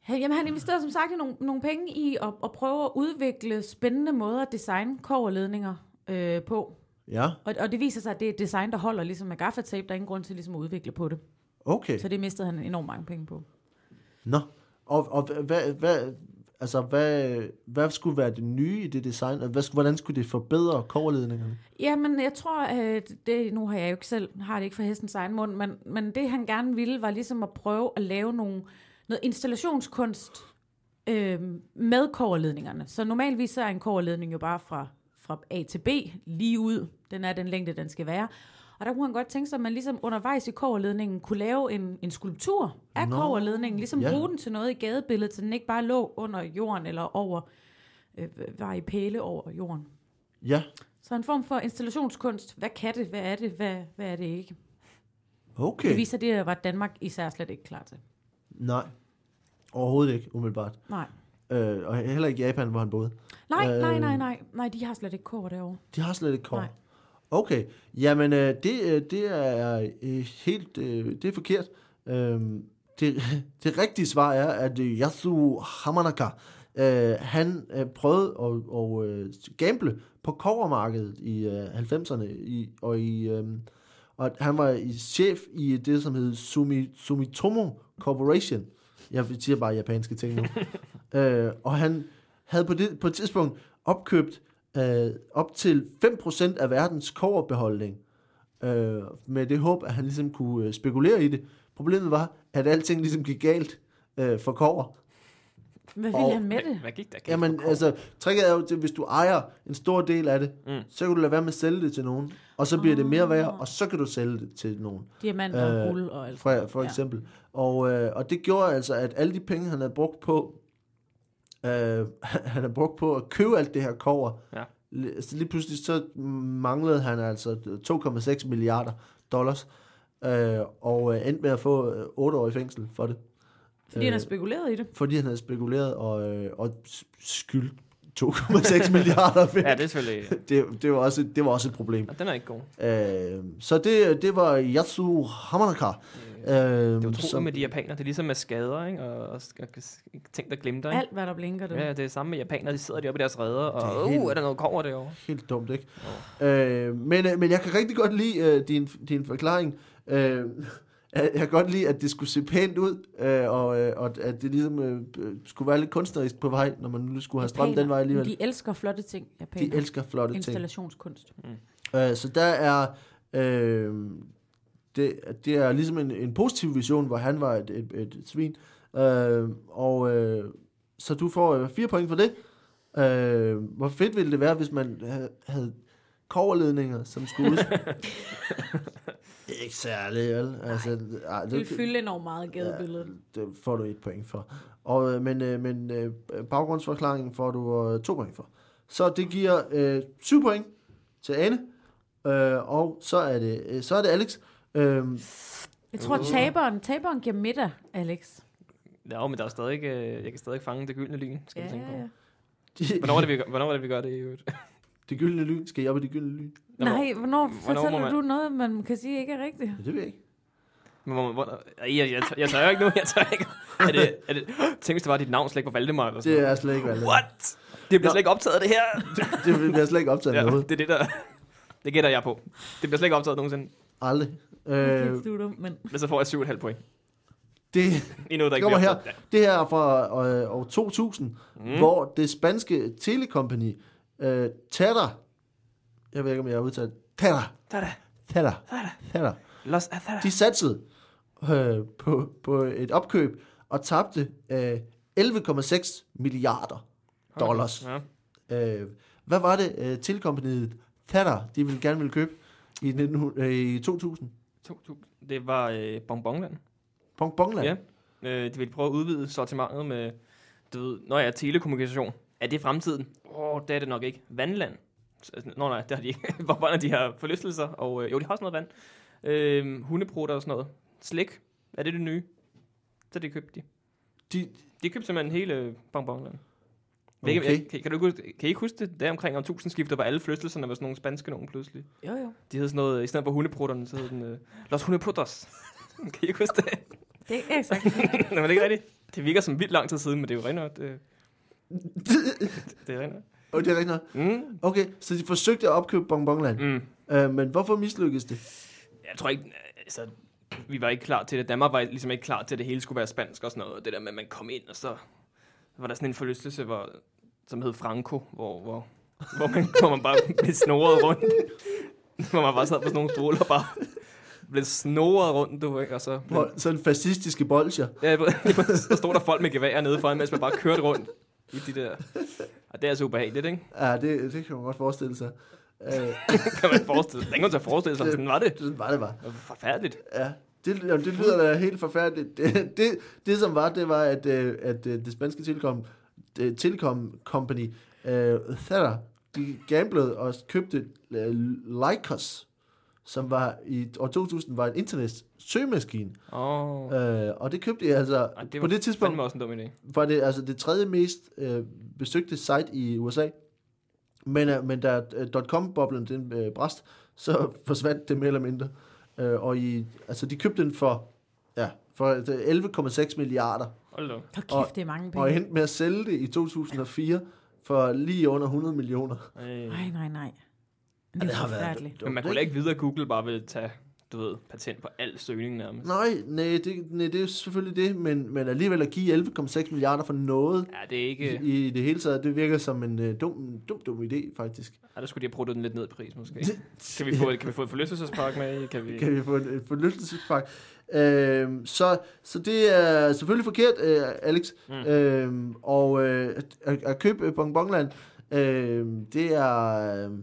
B: Han, jamen, han investerede som sagt i nogle, nogle penge i at, at prøve at udvikle spændende måder at designe koverledninger øh, på.
A: Ja,
B: Og, og det viser sig, at det er et design, der holder ligesom med gaffatape. Der er ingen grund til ligesom at udvikle på det.
A: okay.
B: Så det mistede han enormt mange penge på.
A: Nå. Og, og hva- hvad, hvad, altså, hvad, hvad skulle være det nye i det design? Og hvad, skulle- hvordan skulle det forbedre koverledningerne?
B: Jamen, jeg tror, at det, nu har jeg jo ikke selv, har det ikke for hestens egen mund, men, men det han gerne ville, var ligesom at prøve at lave nogle, noget installationskunst øh, med koverledningerne. Så normalvis så er en koverledning jo bare fra, fra A til B, lige ud. Den er den længde, den skal være. Og der kunne han godt tænke sig, at man ligesom undervejs i koverledningen kunne lave en, en skulptur af
A: Nå,
B: Nå, koverledningen. Ligesom
A: ja.
B: ja. bruge den til noget i gadebilledet, så den ikke bare lå under jorden eller over, øh, var i pæle over jorden.
A: Ja,
B: Så en form for installationskunst. Hvad kan det? Hvad er det? Hvad, hvad er det ikke?
A: okay.
B: Det viser, det var Danmark især slet ikke klar til.
A: Nej, overhovedet ikke, umiddelbart.
B: Nej.
A: Øh, og heller ikke Japan, hvor han boede.
B: Nej,
A: Øh.
B: nej, nej, nej. Nej, de har slet ikke kår derovre.
A: De har slet ikke kår.
B: Nej.
A: Okay, jamen øh, det, øh, det er øh, helt, øh, det er forkert. Øhm, det, (laughs) det rigtige svar er, at øh, Yasu Hamanaka, øh, han øh, prøvede at, at øh, gamble på kovermarkedet i øh, 90'erne, i, og, i, øh, og han var i- chef i det, som hed Sumi, Sumitomo Corporation. Jeg siger bare japanske ting nu. Øh, og han havde på, det, på et tidspunkt opkøbt øh, op til 5% af verdens koverbeholdning, øh, med det håb, at han ligesom kunne øh, spekulere i det. Problemet var, at alting ligesom gik galt øh, for kover.
B: Hvad
A: Og-
B: ville han med det?
C: Hvad gik der? galt for
A: Jamen,
C: Kåre?
A: altså, tricket er jo, at hvis du ejer en stor del af det,
C: Mm.
A: mm. Ah. så kan du lade være med at sælge det til nogen, og så bliver det mere værd, og så kan du sælge det til nogen.
B: Diamant og
A: Øh,
B: guld og alt.
A: For, for eksempel. Og, øh, og det gjorde altså, at alle de penge, han havde brugt på, øh, (laughs) han havde brugt på at købe alt det her kover,
C: Ja.
A: li- så lige pludselig så manglede han altså 2,6 milliarder dollars, øh, og øh, endte med at få øh, 8 år i fængsel for det,
B: Fordi han har
A: øh,
B: spekuleret i det.
A: fordi han havde spekuleret og, øh, og s- skyldt
C: (laughs)
A: 2,6 milliarder. væk.
C: Ja, det er selvfølgelig...
A: (laughs) Det, det, var også, det var også et problem.
C: Nå, den er ikke god.
A: Øh, så det, det var Yatsu Hamanaka. Øh,
C: Det er utroligt
A: som-
C: med de japanere. Det er ligesom med skader, ikke? Og, og, og ting, der glimter, ikke?
B: Alt, hvad der blinker dem.
C: Ja, det er samme med japanere. De sidder deroppe i deres redder,
A: Det er
C: og...
A: helt-
C: Uh, er der noget kover derovre?
A: Helt dumt, ikke? Øh, men, øh, men jeg kan rigtig godt lide øh, din, din forklaring. Øh, at- jeg kan godt lide, at det skulle se pænt ud, øh, og, øh, og at det ligesom øh, øh, skulle være lidt kunstnerisk på vej, når man nu skulle have strøm den vej alligevel. De,
B: De elsker flotte ting, japaner.
A: de elsker flotte ting.
B: Installationskunst.
A: Øh, så der er... Øh, det, det er ligesom en, en positiv vision, hvor han var et, et, et svin. Øh, og øh, så du får øh, fire point for det. Øh, hvor fedt ville det være, hvis man havde, havde koverledninger som skulle ud? Det er ikke særlig, vel? Altså, ej,
B: Det vil fylde enormt meget gadebilledet.
A: det får du et point for. Og, øh, men øh, men øh, baggrundsforklaringen får du øh, to point for. Så det giver øh, syv point til Anne. Øh, og så er det, øh, så er det Alex. Øh,
B: Jeg tror, taberen, taberen giver middag, Alex.
C: Ja, men der er stadig, øh, jeg kan stadig fange det gyldne lyn, skal ja, tænke på.
B: ja.
A: de,
C: Hvornår er det, vi gør, hvornår er det, vi gør det i øvrigt?
A: (laughs) det gyldne lyn. Skal jeg op i det gyldne lyn?
B: Nej, hvornår,
C: hvornår må
B: fortæller
C: man-
B: du noget, man kan sige ikke er rigtigt?
A: Ja, det ved jeg ikke.
C: Men hvor, hvor, jeg, jeg, jeg, tør- jeg tør ikke nu, jeg tør ikke. Er det, er det, tænk, hvis det var dit navn slet ikke var Valdemar eller sådan
A: Det er slet ikke valgt.
C: noget. What? Det bliver
A: Nå.
C: slet ikke optaget, det her.
A: Det bliver slet ikke optaget
C: Ja,
A: ja. noget.
C: det er det, der... Det gætter jeg på. Det bliver slet ikke optaget nogensinde.
A: Aldrig.
C: (laughs)
B: Øh,
A: Øh,
B: du, men...
C: Men så får jeg 7,5 point.
A: det,
C: Endnu, der
A: det
C: ikke
A: kommer
C: bliver
A: her.
C: optaget. Ja.
A: Det her er fra øh, år 2000, mm. hvor det spanske telekompani øh, Tata, jeg ved ikke, om jeg har udtalt Tata,
C: Tada,
A: Tata, Tata,
C: Los ah, Athara.
A: de satsede øh, på, på et opkøb og tabte øh, 11,6 milliarder dollars.
C: Ja.
A: Øh, hvad var det, øh, telekompaniet Tata, de ville gerne ville købe i, 19, øh, i 2000?
C: 2.000. Det var øh, Bonbonland.
A: Pong Bongland?
C: Ja. Øh, de ville prøve at udvide sortimentet med, du ved, når jeg er telekommunikation. Er det fremtiden? Åh, oh, det er det nok ikke. Vandland. Så- Nå nej, det har de ikke. (laughs) Hvor bare de har forlystelser, og øh, jo, de har også noget vand. Øh, hundeprutter og sådan noget. Slik. Er det det nye? Så det købte de.
A: De,
C: De købte simpelthen hele Bonbonland. Okay.
A: Okay.
C: Kan, kan, du ikke huske, kan I ikke huske det? Der omkring om skifter var alle forlystelserne var sådan nogle spanske nogen pludselig.
B: Jo, jo.
C: De hed sådan noget, i stedet for hundeprutterne, så hed den øh, Los Hundeprutters. (laughs) kan I ikke huske det?
B: Det er eksakt.
C: Nå, men det er ikke rigtigt. Det virker som vildt lang tid siden, men det er jo rent nok. Det, det er rent nok.
A: og oh, det er rigtigt nok.
C: Mm.
A: Okay, så de forsøgte at opkøbe Bonbonland.
C: Mm.
A: Øh, men hvorfor mislykkedes det?
C: Jeg tror ikke, altså, vi var ikke klar til det. Danmark var ligesom ikke klar til, at det hele skulle være spansk og sådan noget. Det der med, at man kom ind, og så var der sådan en forlystelse, hvor, som hed Franco, hvor, hvor, hvor, man, hvor man bare blev snoret rundt. (laughs) hvor man bare sad på sådan nogle stole og bare blev snoret rundt, du, ikke? Og så blev
A: Hvor, sådan fascistiske bolcher.
C: Ja, (laughs) der stod der folk med geværer nede foran, mens man bare kørte rundt i de der... Og det er altså ubehageligt, ikke?
A: Ja, det, det kan man godt forestille sig. Øh,
C: Kan man forestille sig. Der er ingen grund til at forestille sig, men sådan var det.
A: (laughs) sådan var det bare.
C: Det var Forfærdeligt.
A: Ja, det, jamen, det lyder da helt forfærdeligt. Det, det, det som var, det var, at, øh, at øh, det spanske Telekom, det, Telekom Company, øh, Thera, de gamblede og købte øh, Lycos, som var i år 2000 var en internet søgemaskine.
C: Åh, oh,
A: Øh, og det købte jeg altså,
C: Ej,
A: det
C: det
A: på
C: var
A: det tidspunkt
C: fandme også en dum idé.
A: var det altså det tredje mest øh, besøgte site i USA. Men, øh, men da øh, .com-boblen den øh, brast, så (laughs) forsvandt det mere eller mindre. Øh, og i, altså, de købte den for, ja, for øh, 11,6 milliarder,
C: Hold da. op.
B: Hvor kæft,
A: Og-
B: det er mange
A: og
B: penge.
A: endte med at sælge det i 2004 for lige under 100 millioner.
C: Ej.
B: Nej, nej, nej. Det er
A: har
B: jo
A: været
B: forfærdeligt.
C: Men man kunne da ikke videre, at Google bare ville tage, du ved, patent på al søgning nærmest.
A: Nej, nej, det, nej, det er selvfølgelig det, men, men alligevel at give 11,6 milliarder for noget
C: Ja, det er ikke...
A: i, i det hele taget, det virker som en øh, dum, dum, dum idé, faktisk.
C: Ja, der skulle de have brugt den lidt ned i pris, måske. Kan vi få, kan vi få et forlystelsespark med i? Kan vi...
A: kan vi få en, en forlystelsespakke. Øhm, så, så det er selvfølgelig forkert, øh, Alex. Mm.
C: Mm.
A: Øhm, og øh, at, at købe Bongbongland, øh, det er... Øh,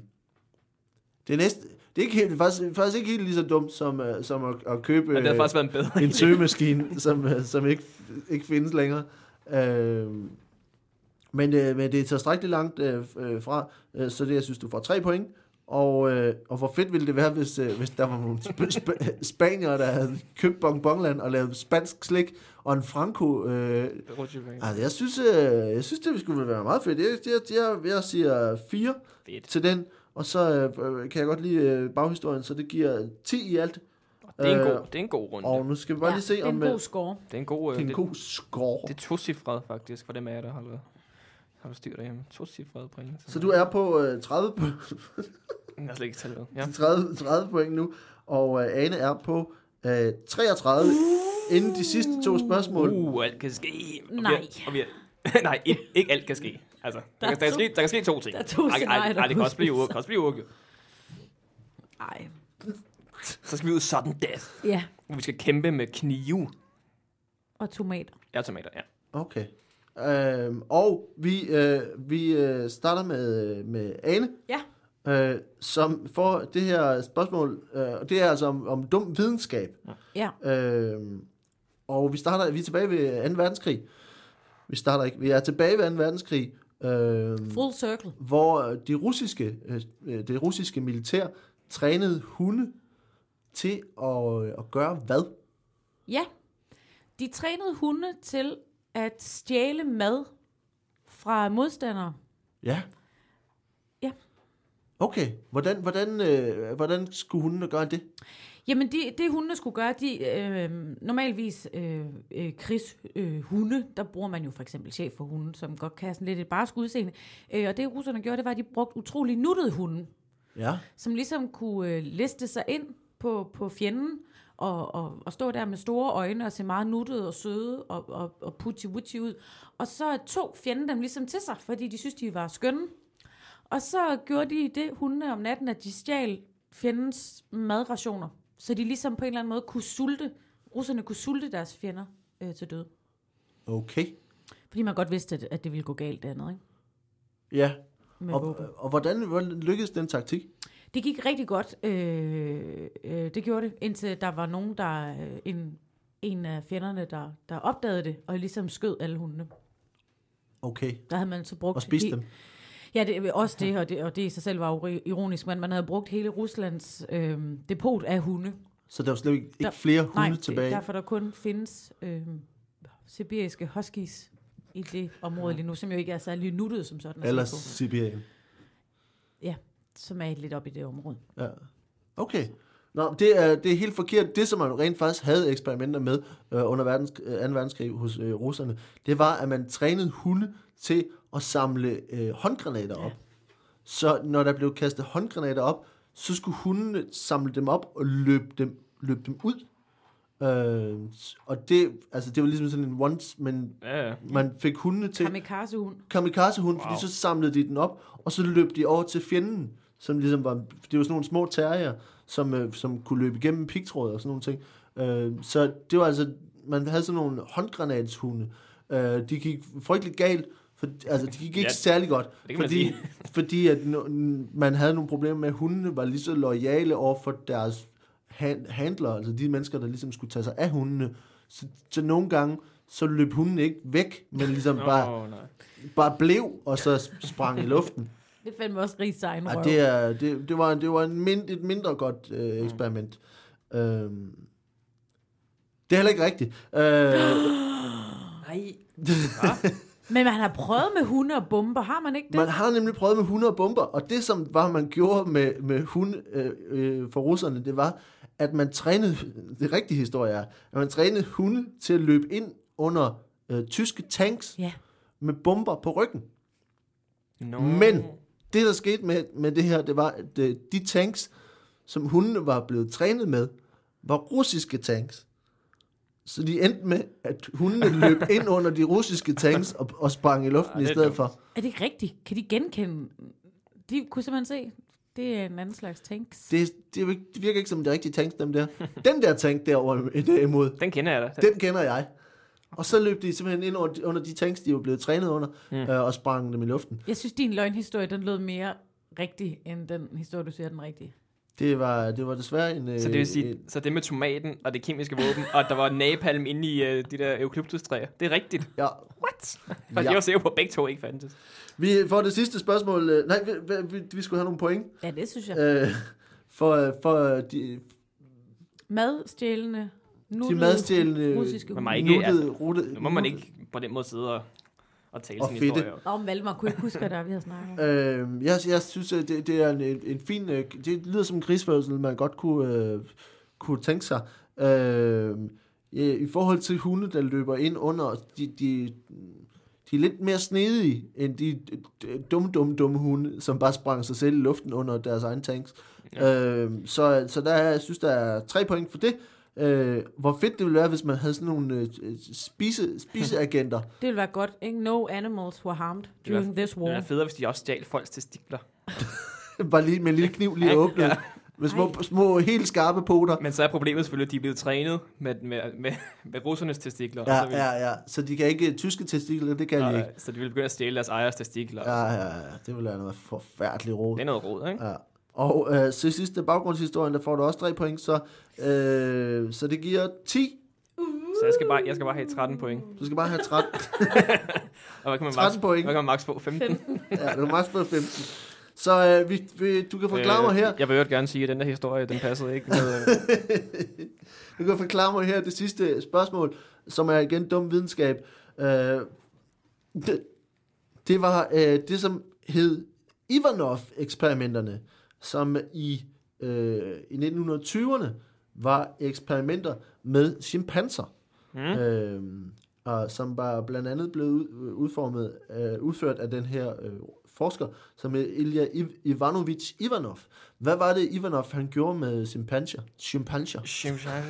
A: det er næsten... Det er ikke helt, faktisk, faktisk ikke helt lige så dumt som, øh, som at, at købe
C: Ja, det
A: øh,
C: har faktisk været en bedre
A: en
C: idé.
A: søgemaskine, som, øh, som ikke, ikke findes længere. Øh, men, øh, men det er tilstrækkeligt langt øh, f- øh, fra, øh, så det, jeg synes, du får tre point. Og, øh, og hvor fedt ville det være, hvis, øh, hvis der var nogle sp- sp- spanier, der havde købt bonbonland og lavet spansk slik og en franco. Øh.
C: Rutsjebane.
A: Altså, jeg synes, øh, jeg synes, det skulle være meget fedt. Jeg, jeg, jeg, jeg siger fire
C: Fedt.
A: til den, og så øh, kan jeg godt lide øh, baghistorien, så det giver 10 i alt.
C: Det er en
A: Øh,
C: god, det er en god runde.
A: Og nu skal vi bare lige se,
B: det er
A: om...
B: en
A: øh,
B: god score.
C: Det er en god... øh,
A: Det er en
C: det-
A: god score.
C: Det er tocifret faktisk, for dem af jer, der har, har du styr derhjemme. Tocifret point.
A: Så du er på øh, 30, po-
C: Jeg har slet ikke talt med. Ja.
A: 30, 30 point nu, og øh, Ane er på øh, 33 inden de sidste to spørgsmål.
C: Uh, alt kan ske. Og vi er-
B: Nej.
C: Og vi er, (laughs) nej, ikke, ikke alt kan ske. Altså, der,
B: er
C: kan, der, kan
B: to-
C: ske, der kan ske to ting.
B: der er to scenarier,
C: Nej, det kan
B: der
C: også blive uafgjort. kan også blive uafgjort.
B: Ej.
C: Så skal vi ud i sudden death,
B: Ja,
C: hvor vi skal kæmpe med knive.
B: og tomater.
C: Ja, tomater, ja.
A: Okay. Øhm, og vi, øh, vi øh, starter med, øh, med Ane,
B: Ja.
A: øh, som får det her spørgsmål, øh, og det er altså om, om dum videnskab.
B: Ja.
A: Øhm, og vi starter, vi er tilbage ved 2. verdenskrig. Vi starter ikke, vi er tilbage ved 2. verdenskrig. Øhm,
B: Full circle.
A: hvor øh, de russiske, øh, øh, det russiske militær trænede hunde til at, øh, at gøre hvad?
B: Ja. De trænede hunde til at stjæle mad fra modstandere.
A: Ja.
B: Ja.
A: Okay, hvordan, hvordan, øh, hvordan skulle hundene gøre det?
B: Jamen, det, det hundene skulle gøre, de øh, normalvis øh, øh, krigshunde, øh, hunde, der bruger man jo for eksempel chef for hunden, som godt kan have sådan lidt et barsk udseende. Øh, og det russerne gjorde, det var, at de brugte utrolig nuttede hunde,
A: Ja.
B: som ligesom kunne øh, liste sig ind på, på fjenden, og, og, og stå der med store øjne og se meget nuttede og søde og, og, og putti-wutti ud. Og så tog fjenden dem ligesom til sig, fordi de synes, de var skønne. Og så gjorde de det hundene om natten, at de stjal fjendens madrationer. Så de ligesom på en eller anden måde kunne sulte, russerne kunne sulte deres fjender øh, til døde.
A: Okay.
B: Fordi man godt vidste, at, at det ville gå galt det andet, ikke?
A: Ja.
B: Med
A: Og,
B: våben.
A: og hvordan, hvordan lykkedes den taktik?
B: Det gik rigtig godt. Øh, øh, det gjorde det, indtil der var nogen, der øh, en, en af fjenderne, der, der opdagede det, og ligesom skød alle hundene.
A: Okay.
B: Der havde man så brugt...
A: Og spiste
B: he-
A: dem?
B: Ja, det er også det, og det, og det i sig selv var jo ri- ironisk, men man havde brugt hele Ruslands øh, depot af hunde.
A: Så der var slet ikke, ikke
B: Der-
A: flere hunde
B: det-
A: tilbage?
B: derfor der kun findes øh, sibiriske huskies i det område lige nu, som jo ikke er særlig nuttet som sådan. at se
A: Eller
B: på,
A: Sibirien?
B: som er lidt op i det område.
A: Ja. Okay. Nå, det er, det er helt forkert. Det, som man rent faktisk havde eksperimenter med øh, under verdens, øh, 2. verdenskrig hos øh, russerne, det var, at man trænede hunde til at samle øh, håndgranater op. Så når der blev kastet håndgranater op, så skulle hundene samle dem op og løbe dem, løbe dem ud. Øh, og det, altså, det var ligesom sådan en once, men
C: Ja, ja.
A: man fik hundene til
B: Kamikaze-hund.
A: kamikazehund, wow. fordi
C: Wow.
A: så samlede de den op, og så løb de over til fjenden, som ligesom var, det var sådan nogle små terrier, som, øh, som kunne løbe igennem pigtråd og sådan nogle ting. Øh, så det var altså, man havde sådan nogle håndgranatshunde. Øh, de gik frygteligt galt, for, altså de gik ikke ja,
C: Ja,
A: særlig godt,
C: kan man
A: fordi,
C: sige.
A: (laughs) fordi at no, man havde nogle problemer med, at hundene var lige så lojale over for deres han- handlere, altså de mennesker, der ligesom skulle tage sig af hundene. Så, så nogle gange, så løb hunden ikke væk, men ligesom bare
C: Åh, nej.
A: bare blev, og så sprang i luften.
B: Det fandt mig også rigtig egen
A: Ja,
B: røv.
A: det, er, det, det var, det var en mind, et mindre godt øh, eksperiment. Mm. Øhm, det er heller ikke rigtigt. Øh,
C: Nej.
B: Men man har prøvet med hunde og bomber, har man ikke det?
A: man har nemlig prøvet med 100 bomber, og det som var, man gjorde med, med hunde øh, øh, for russerne, det var, at man trænede, det rigtige historie er, at man trænede hunde til at løbe ind under øh, tyske tanks
B: Ja.
A: med bomber på ryggen.
C: No.
A: Men det, der skete med, med det her, det var, at øh, de tanks, som hundene var blevet trænet med, var russiske tanks. Så de endte med, at
C: (laughs)
A: hundene løb ind under de russiske tanks og, og sprang i luften
C: Ej,
A: i
C: det er
A: stedet
C: dumt.
A: for.
B: Er det ikke rigtigt? Kan de genkende? De kunne simpelthen se, det er en anden slags tanks. Det,
A: Det, det, er jo ikke- det virker ikke som de rigtige tanks, dem der. Den der tank derovre (laughs) derimod,
C: Den kender jeg da. Den.
A: den kender jeg. Og så løb de simpelthen ind under de, under de tanks, de var blevet trænet under, mm. øh, og sprang dem i luften.
B: jeg synes, din løgnhistorie, den lød mere rigtig, end den historie, du siger, den rigtige.
A: Det var, det var desværre en...
C: Så det
A: øh,
C: vil
A: en-
C: sige, så det med tomaten og det kemiske våben, og at der var napalm inde i øh, de der eukalyptustræer. Det er rigtigt.
A: Ja,
C: What? For
A: Ja.
C: ja. jeg var sikker på, at begge to ikke fandtes.
A: vi får det sidste spørgsmål. øh, Nej, vi, vi- vi, vi skulle have nogle point.
B: Ja, det synes jeg.
A: øh, for, øh, for de,
B: Madstjælende,
A: de
B: nuttede
A: madstjælende
B: russiske
C: Man
B: hunde.
C: må ikke,
A: nuttede,
C: altså,
A: rute,
C: Nu må man ikke på den måde sidde og, og tale
A: Og
C: sin
A: fedte.
C: historie. op.
B: Om Valmar kunne ikke huske, hvad der er, vi havde snakket om.
A: Øh, jeg, jeg synes, at det, det er en, en, en fin... øh, Det lyder som en krigsførsel, man godt kunne, øh, kunne tænke sig. Øh, ja, I forhold til hunde, der løber ind under... De, de, de er lidt mere snedige end de øh, dumme, dumme, dumme hunde, som bare sprang sig selv i luften under deres egen tanks. Ja. Øh, så, så der, er- jeg synes, der er tre point for det. Øh, hvor fedt det ville være, hvis man havde sådan nogle øh, øh, spise, spiseagenter.
B: Det ville være godt, ikke? No animals were harmed
C: Det ville
B: during this
C: Det er
B: war.
C: federe, hvis de også stjal folks testikler.
A: Bare lige med en lille kniv lige
C: Ej,
A: åbnet. Ja.
C: ja.
A: Med små, små, helt skarpe poter.
C: Men så er problemet selvfølgelig, at de er blevet trænet med, med, med, med russernes testikler. og
A: Ja,
C: så vil-
A: ja, ja. Så de kan ikke tyske testikler, det kan de ikke.
C: Og, så de vil begynde at stjæle deres ejers testikler.
A: Ja, ja, ja. Det ville være noget forfærdeligt råd.
C: Det er noget råd, ikke?
A: Ja. Og øh, så sidste baggrundshistorien, der får du også tre point, så, øh, så det giver 10.
C: Så jeg skal, bare, jeg skal bare have 13 point.
A: Du skal bare have 13,
C: Og hvad kan
A: 13
C: man max,
A: point.
C: hvad kan man max få? 15?
A: Ja, du er max på 15. Så øh, vi, vi, du kan forklare mig her,
C: Øh, Jeg vil jo gerne sige, at den der historie, den passede ikke med...
A: (laughs)
C: øh,
A: du kan forklare mig her det sidste spørgsmål, som er igen dum videnskab. Øh, det, det var øh, det, som hed Ivanov-eksperimenterne, som i, øh, i 1920'erne var eksperimenter med chimpanser, mm. øh, og som var blandt andet blevet ud- udformet, øh, udført af den her øh, forsker, som hed Ilya Iv- Ivanovich Ivanov. Hvad var det, Ivanov han gjorde med chimpanser? Chimpanser.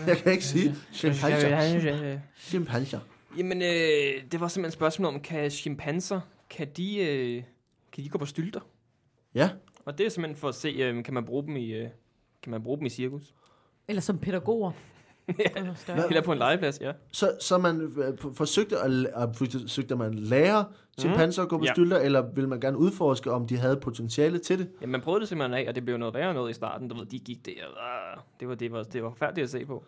A: Jeg kan ikke sige chimpanser. Chimpanser.
C: Jamen, øh, det var simpelthen et spørgsmål om, kan chimpanser, kan de, øh, kan de gå på stylter?
A: Ja,
C: Og det er simpelthen for at se, øh, kan man bruge dem i... Øh, kan man bruge dem i cirkus?
B: Eller som
C: (laughs)
B: pædagoger. Det var større.
C: Eller på en legeplads, ja.
A: så, så man øh, p- forsøgte at, l- at forsøgte man at lære chimpanser at gå på
C: Ja.
A: stylter, eller ville man gerne udforske, om de havde potentiale til det?
C: ja. man prøvede det simpelthen af, og det blev noget værre noget i starten. Du ved, de gik der, og det var, det var, det var forfærdeligt at se på.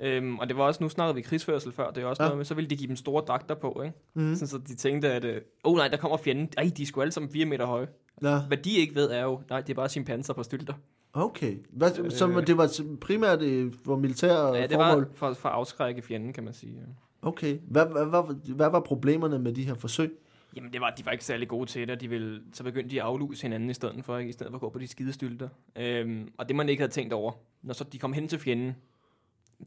C: Øhm, og det var også, nu snakkede vi krigsførsel før, det er også
A: Ja. Mhm.
C: ja. noget med, så ville de give dem store dragter på, ikke? Mm. Sådan, så de tænkte, at, øh, oh nej, der kommer fjenden. Ej, de er sgu alle sammen fire meter høje.
A: Ja.
C: Hvad de ikke ved er jo, nej, det er bare chimpanser på stylter.
A: Okay. Hvad, øh, så det var s- primært øh, for militære
C: Ja,
A: ja,
C: det
A: formål?
C: var for, for at afskrække fjenden, kan man sige.
A: Okay. Hvad, hvad, hvad, hvad var problemerne med de her forsøg?
C: Jamen, det var, de var ikke særlig gode til det, og de ville, så begyndte de at afluse hinanden i stedet for, ikke? i stedet for at gå på de skidestylter. Øhm, og det man ikke havde tænkt over, når så de kom hen til fjenden,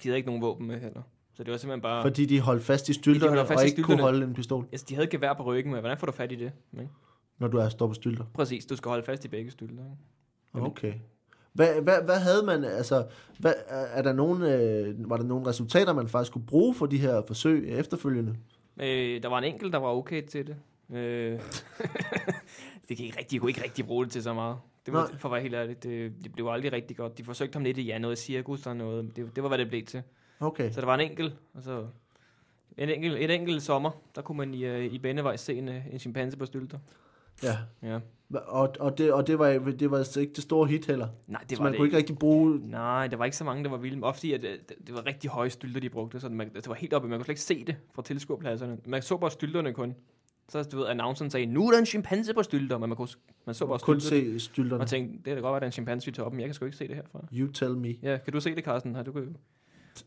C: de havde ikke nogen våben med heller. Så det var simpelthen bare...
A: Fordi de holdt fast i stylterne
C: holder
A: ja,
C: fast
A: og
C: i
A: ikke kunne
C: stylterne.
A: holde en pistol,
C: Altså, de havde et gevær på ryggen, men hvordan får du fat i det? Ikke?
A: når du er står på stylter.
C: Præcis, du skal holde fast i begge stylter. Ikke? Jamen.
A: Okay. Hvad, hvad, hvad havde man, altså, hvad, er- er der nogen, øh, var der nogle resultater, man faktisk kunne bruge for de her forsøg efterfølgende?
C: Øh, der var en enkelt, der var okay til det. Øh, (laughs) det kan ikke rigtig, de kunne ikke rigtig bruge det til så meget. Det var,
A: Nej.
C: for at være helt ærlig, det, det blev aldrig rigtig godt. De forsøgte ham lidt i ja, noget cirkus og noget. men Det, det var, hvad det blev til.
A: Okay.
C: Så der var en enkelt, og så en enkelt, et enkelt sommer, der kunne man i, øh, i Bennevej se en, øh, en chimpanse på stylter.
A: Ja.
C: Ja.
A: Hva- Og, og, det, og det, var, det var altså ikke det store hit heller.
C: Nej,
A: så
C: det var
A: man
C: det
A: kunne ikke rigtig bruge...
C: Nej, der var ikke så mange, der var vilde. Ofte fordi, at øh, det, det var rigtig høje stylter, de brugte, så man, det var helt oppe. Man kunne slet ikke se det fra tilskuerpladserne. Man så bare stylterne kun. Så du ved, announceren sagde, nu er der en chimpanse på stylter, men man, kunne, man så bare
A: Kun
C: stylter.
A: se stylterne.
C: Og tænkte, det kan da godt være, at der er en chimpanse i toppen, jeg kan sgu ikke se det herfra.
A: You tell me.
C: Ja, kan du se det, Carsten? Har du kan...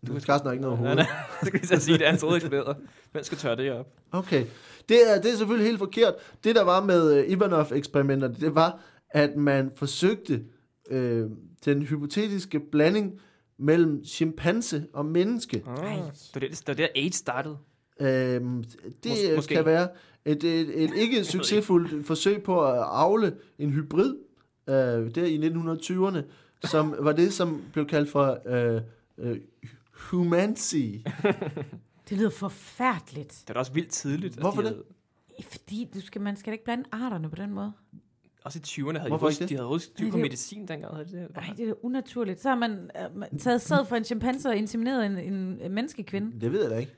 A: Du Carsten har ikke noget
C: Nej,
A: hoved.
C: nej, (laughs) det skal lige til at sige, det er hans hoved eksploderer. Hvem skal tørre det op?
A: Okay. Det er, det er selvfølgelig helt forkert. Det, der var med øh, Ivanov-eksperimenterne, det var, at man forsøgte øh, den hypotetiske blanding mellem chimpanse og menneske.
C: Ah,
B: Ej.
C: det var der, det var der AIDS startede.
A: Øhm, det
C: Mås- måske.
A: kan være et, et, et ikke succesfuldt forsøg på at afle en hybrid øh, der i 1920'erne, som var det, som blev kaldt for øh, øh, humancy.
B: Det lyder forfærdeligt.
C: Det var da også vildt tidligt.
A: Hvorfor
C: de
A: det?
C: Havde,
B: Fordi du skal, man skal da ikke blande arterne på den måde.
C: også i 20'erne havde
A: Hvorfor
C: Hvorfor de,
A: ikke det?
C: russ- de havde russ- de
B: det
C: på
B: er jo-
C: medicin dengang. Havde de det.
B: Nej, det er da unaturligt. Så har man øh, man taget sæd fra en chimpanse og insemineret en, en, en menneskekvinde.
A: Det ved jeg da ikke.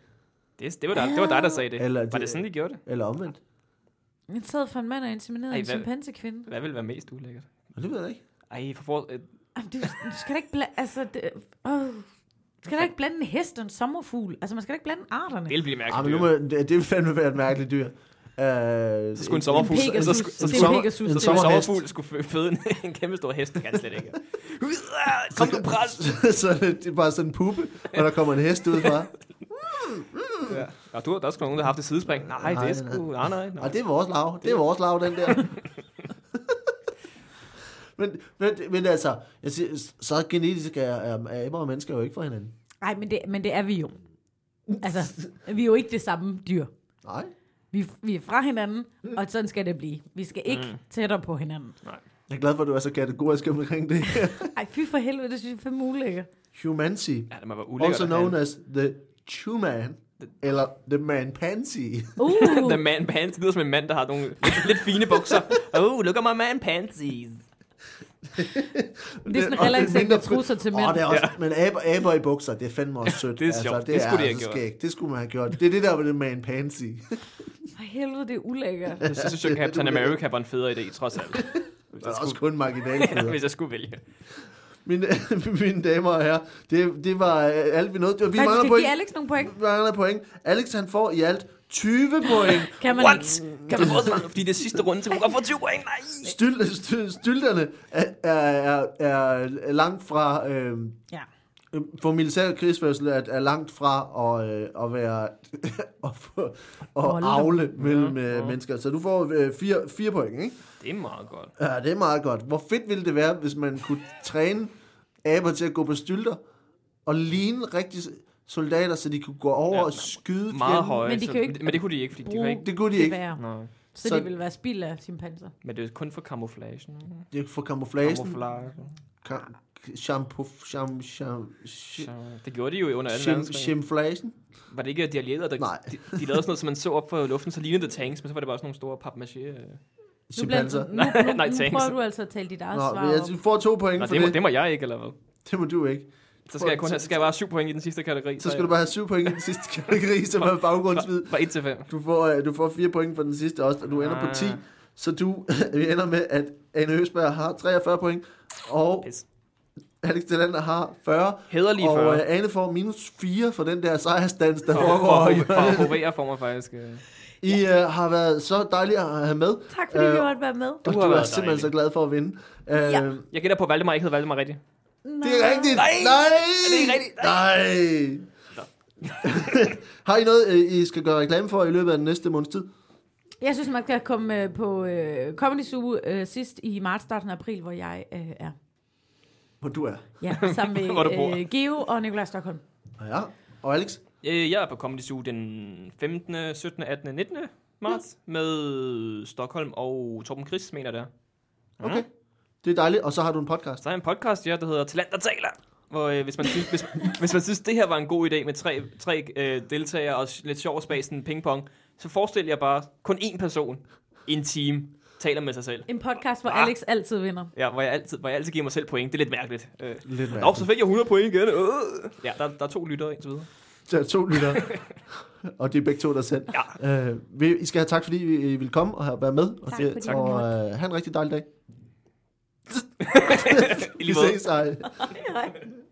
C: Det, det, var dig, det var dig, der sagde det.
A: Eller
C: Eller var
A: det-
C: det sådan, de gjorde det?
A: Eller omvendt.
B: En sæd fra en mand og insemineret
C: Ej,
B: en
C: hvad-
B: chimpansekvinde.
C: Hvad ville være mest ulækkert?
A: Det ved jeg da ikke.
C: Ej, for for, øh,
B: Jamen, du, du skal da ikke blande... Altså, det, øh, skal da ikke blande en hest og en sommerfugl? Altså, man skal da ikke blande arterne.
C: det bliver mærkeligt.
A: Ah, men nu må, det, det vil fandme være et mærkeligt dyr. Uh,
C: så skulle en sommerfugl,
B: En pegasus.
C: så, skulle- så,
B: Det er
C: skulle
B: en
C: sommer-
B: pegasus.
C: så
A: En
C: skulle en
A: sommerhest.
C: sommerfugl skulle fø- føde en, en (laughs) kæmpe stor hest, det kan han slet
A: (laughs)
C: ikke. Kom du pres!
A: så er det det er bare sådan en puppe, og der kommer en hest ud fra.
C: Ja. Nå, du, der er sgu nogen, der har haft et sidespring. Nej,
A: Nej,
C: det er
A: nej.
C: sgu... Nej, nej, nej.
A: Og det er vores lav. Det er vores lav, den
C: (laughs)
A: der. men, men, men altså, jeg siger, så genetisk er, er, er aber og mennesker jo ikke fra hinanden.
B: Nej, men det, men det er vi jo. Altså, vi er jo ikke det samme dyr.
A: Nej.
B: Vi, vi er fra hinanden, og sådan skal det blive. Vi skal ikke mm. tættere på hinanden.
A: Jeg er glad for, at du er så kategorisk omkring
C: (laughs)
A: det her.
B: Ej, fy for helvede, det synes jeg er fandme ulækkert.
A: Humancy.
C: Ja, det må være ulækkert.
A: Also
C: at have
A: known
C: en-
A: as the Chuman. Eller the man (laughs) pansy.
B: Uh,
C: The man pants. Det lyder som en mand, der har nogle lidt fine
A: (laughs)
C: bukser. Oh, look at my man pantsies.
B: det er sådan en relaxing med trusser til mænd.
A: Oh, det er også, ja. Men aber, aber i bukser, det er fandme også sødt.
C: det er sjovt.
A: Altså, det,
C: Det skulle de
A: er
C: have
A: altså
C: gjort.
A: skægt. Det skulle man have gjort. Det er det der med the man pansy.
B: For helvede, det er ulækkert.
C: Jeg synes, at Captain America var en federe idé,
A: (laughs)
C: trods alt. Hvis
A: Det
C: jeg
A: er også
C: skulle,
A: kun marginalt.
C: ja, hvis jeg skulle vælge.
A: mine, (laughs) mine damer og herrer, det, det var øh, alt vi nåede. Vi
B: Nej, du
A: mangler
B: skal
A: point.
B: give Alex nogle point.
A: Vi mangler point. Alex han får i alt 20 point. (laughs)
B: Kan man
C: What?
B: ikke?
C: Kan du også Fordi det er sidste runde, så kunne du godt få 20 point. Nej.
A: Styl, styl, stylterne er, er, er, er langt fra... Øh,
B: Ja.
A: øh, for militær krigsførsel er, er langt fra at, øh, at være (laughs) at, få- at
B: Volde.
A: avle mellem ja, ja. mennesker. Så du får øh, fire, fire point, ikke?
C: Det er meget godt.
A: Ja, det er meget godt. Hvor fedt ville det være, hvis man kunne træne aber til at gå på stylter og ligne rigtige soldater, så de kunne gå over
C: Ja,
A: og skyde
C: Meget
A: fjenden?
C: høje.
B: Men de kan jo ikke
C: så- men det kunne de ikke, fordi de kan
B: bruge-
C: ikke...
A: Det kunne de
B: Det
A: ikke.
B: er
C: Nå.
B: så,
A: Så-
B: så det ville være spild af chimpanser.
C: Men det er kun for camouflagen.
A: Det er for kamuflagen.
C: Camouflage.
A: Ka- shampoo, sham, sham,
C: Så
A: shim,
C: Det gjorde de jo under 2. verdenskrig.
A: shimflagen.
C: Var det ikke de allierede, der...
A: Nej.
C: De, de, lavede sådan noget, som man så op fra luften, så lignede det tanks, men så var det bare sådan nogle store papmaché. øh.
B: Nu, bliver,
A: Chimpanser.
B: nu, nu, nu,
C: Nej,
B: nu
C: thanks.
B: prøver du altså at tale dit eget
A: Nå,
B: svar
A: men
B: op.
A: jeg får to point
C: Nå,
A: for
C: det må,
A: det.
C: det må jeg ikke, eller hvad?
A: Det må du ikke.
C: Så skal jeg kun have, så skal jeg bare have 7 point i den sidste kategori.
A: Så skal du bare have syv point i den sidste kategori, som er baggrundsvid.
C: Fra 1 til 5.
A: Du får, øh, du får fire point for den sidste også, og du ender på 10.
C: Ah.
A: Så du (laughs) vi ender med, at Anne Høsberg har 43 point, og
C: Pis.
A: Alex Delander har 40.
C: Hæderlige
A: og
C: 40.
A: øh, Anne får minus 4 for den der sejrstans, (laughs) der foregår.
C: For,
A: i-
C: for, for at hovere får mig faktisk... øh.
A: I øh, har været så dejlige at have med.
B: Tak fordi
A: Øh,
B: du måtte være med.
A: Du,
C: har
A: du er
C: været
A: simpelthen
C: dejlig.
A: så glad for at vinde. Øh,
B: Ja.
C: Jeg gætter på, at Valdemar ikke havde Valdemar rigtigt.
A: Det er rigtigt!
C: Nej!
A: Nej!
C: Er det ikke rigtigt?
A: Nej! (laughs) har I noget, øh, I skal gøre reklame for i løbet af den næste måneds tid?
B: Jeg synes, man kan komme øh, på øh, Comedy Zoo øh, sidst i marts, starten af april, hvor jeg øh, er.
A: Hvor du er.
B: Ja, sammen med
C: Hvor du bor.
B: øh, Geo og Nikolaj Stockholm.
A: Ja. Og Alex?
C: Øh, Jeg er på Comedy Zoo den 15., 17., 18., 19. marts med Stockholm og Torben Chris, mener jeg det er.
A: Okay.
C: Mhm.
A: Det er dejligt. Og så har du en podcast.
C: Så har jeg en podcast, ja, der hedder Talent der taler. Hvor, øh, hvis, man synes, hvis, hvis man synes, det her var en god idé med tre, tre øh, deltagere og lidt sjov spacen pingpong, så forestil jer bare, kun én person i en time taler med sig selv.
B: En podcast, hvor
C: Ah.
B: Alex altid vinder.
C: Ja, hvor jeg altid, hvor jeg altid giver mig selv point. Det er lidt mærkeligt. Øh.
A: Lidt
C: Nå, så fik jeg 100 point igen. Øh. Ja, der, der er to lyttere indtil videre.
A: Der er to
C: (laughs)
A: lyttere. og det er begge to, der selv. Ja. Øh, vi- I skal have tak, fordi I ville komme og have været med. og,
B: Tak,
A: det-
B: fordi I
A: og
B: måtte.
A: øh, have en rigtig dejlig dag.
C: (laughs) I
A: Vi
C: lige måde.
A: ses. Ej.
B: Hej.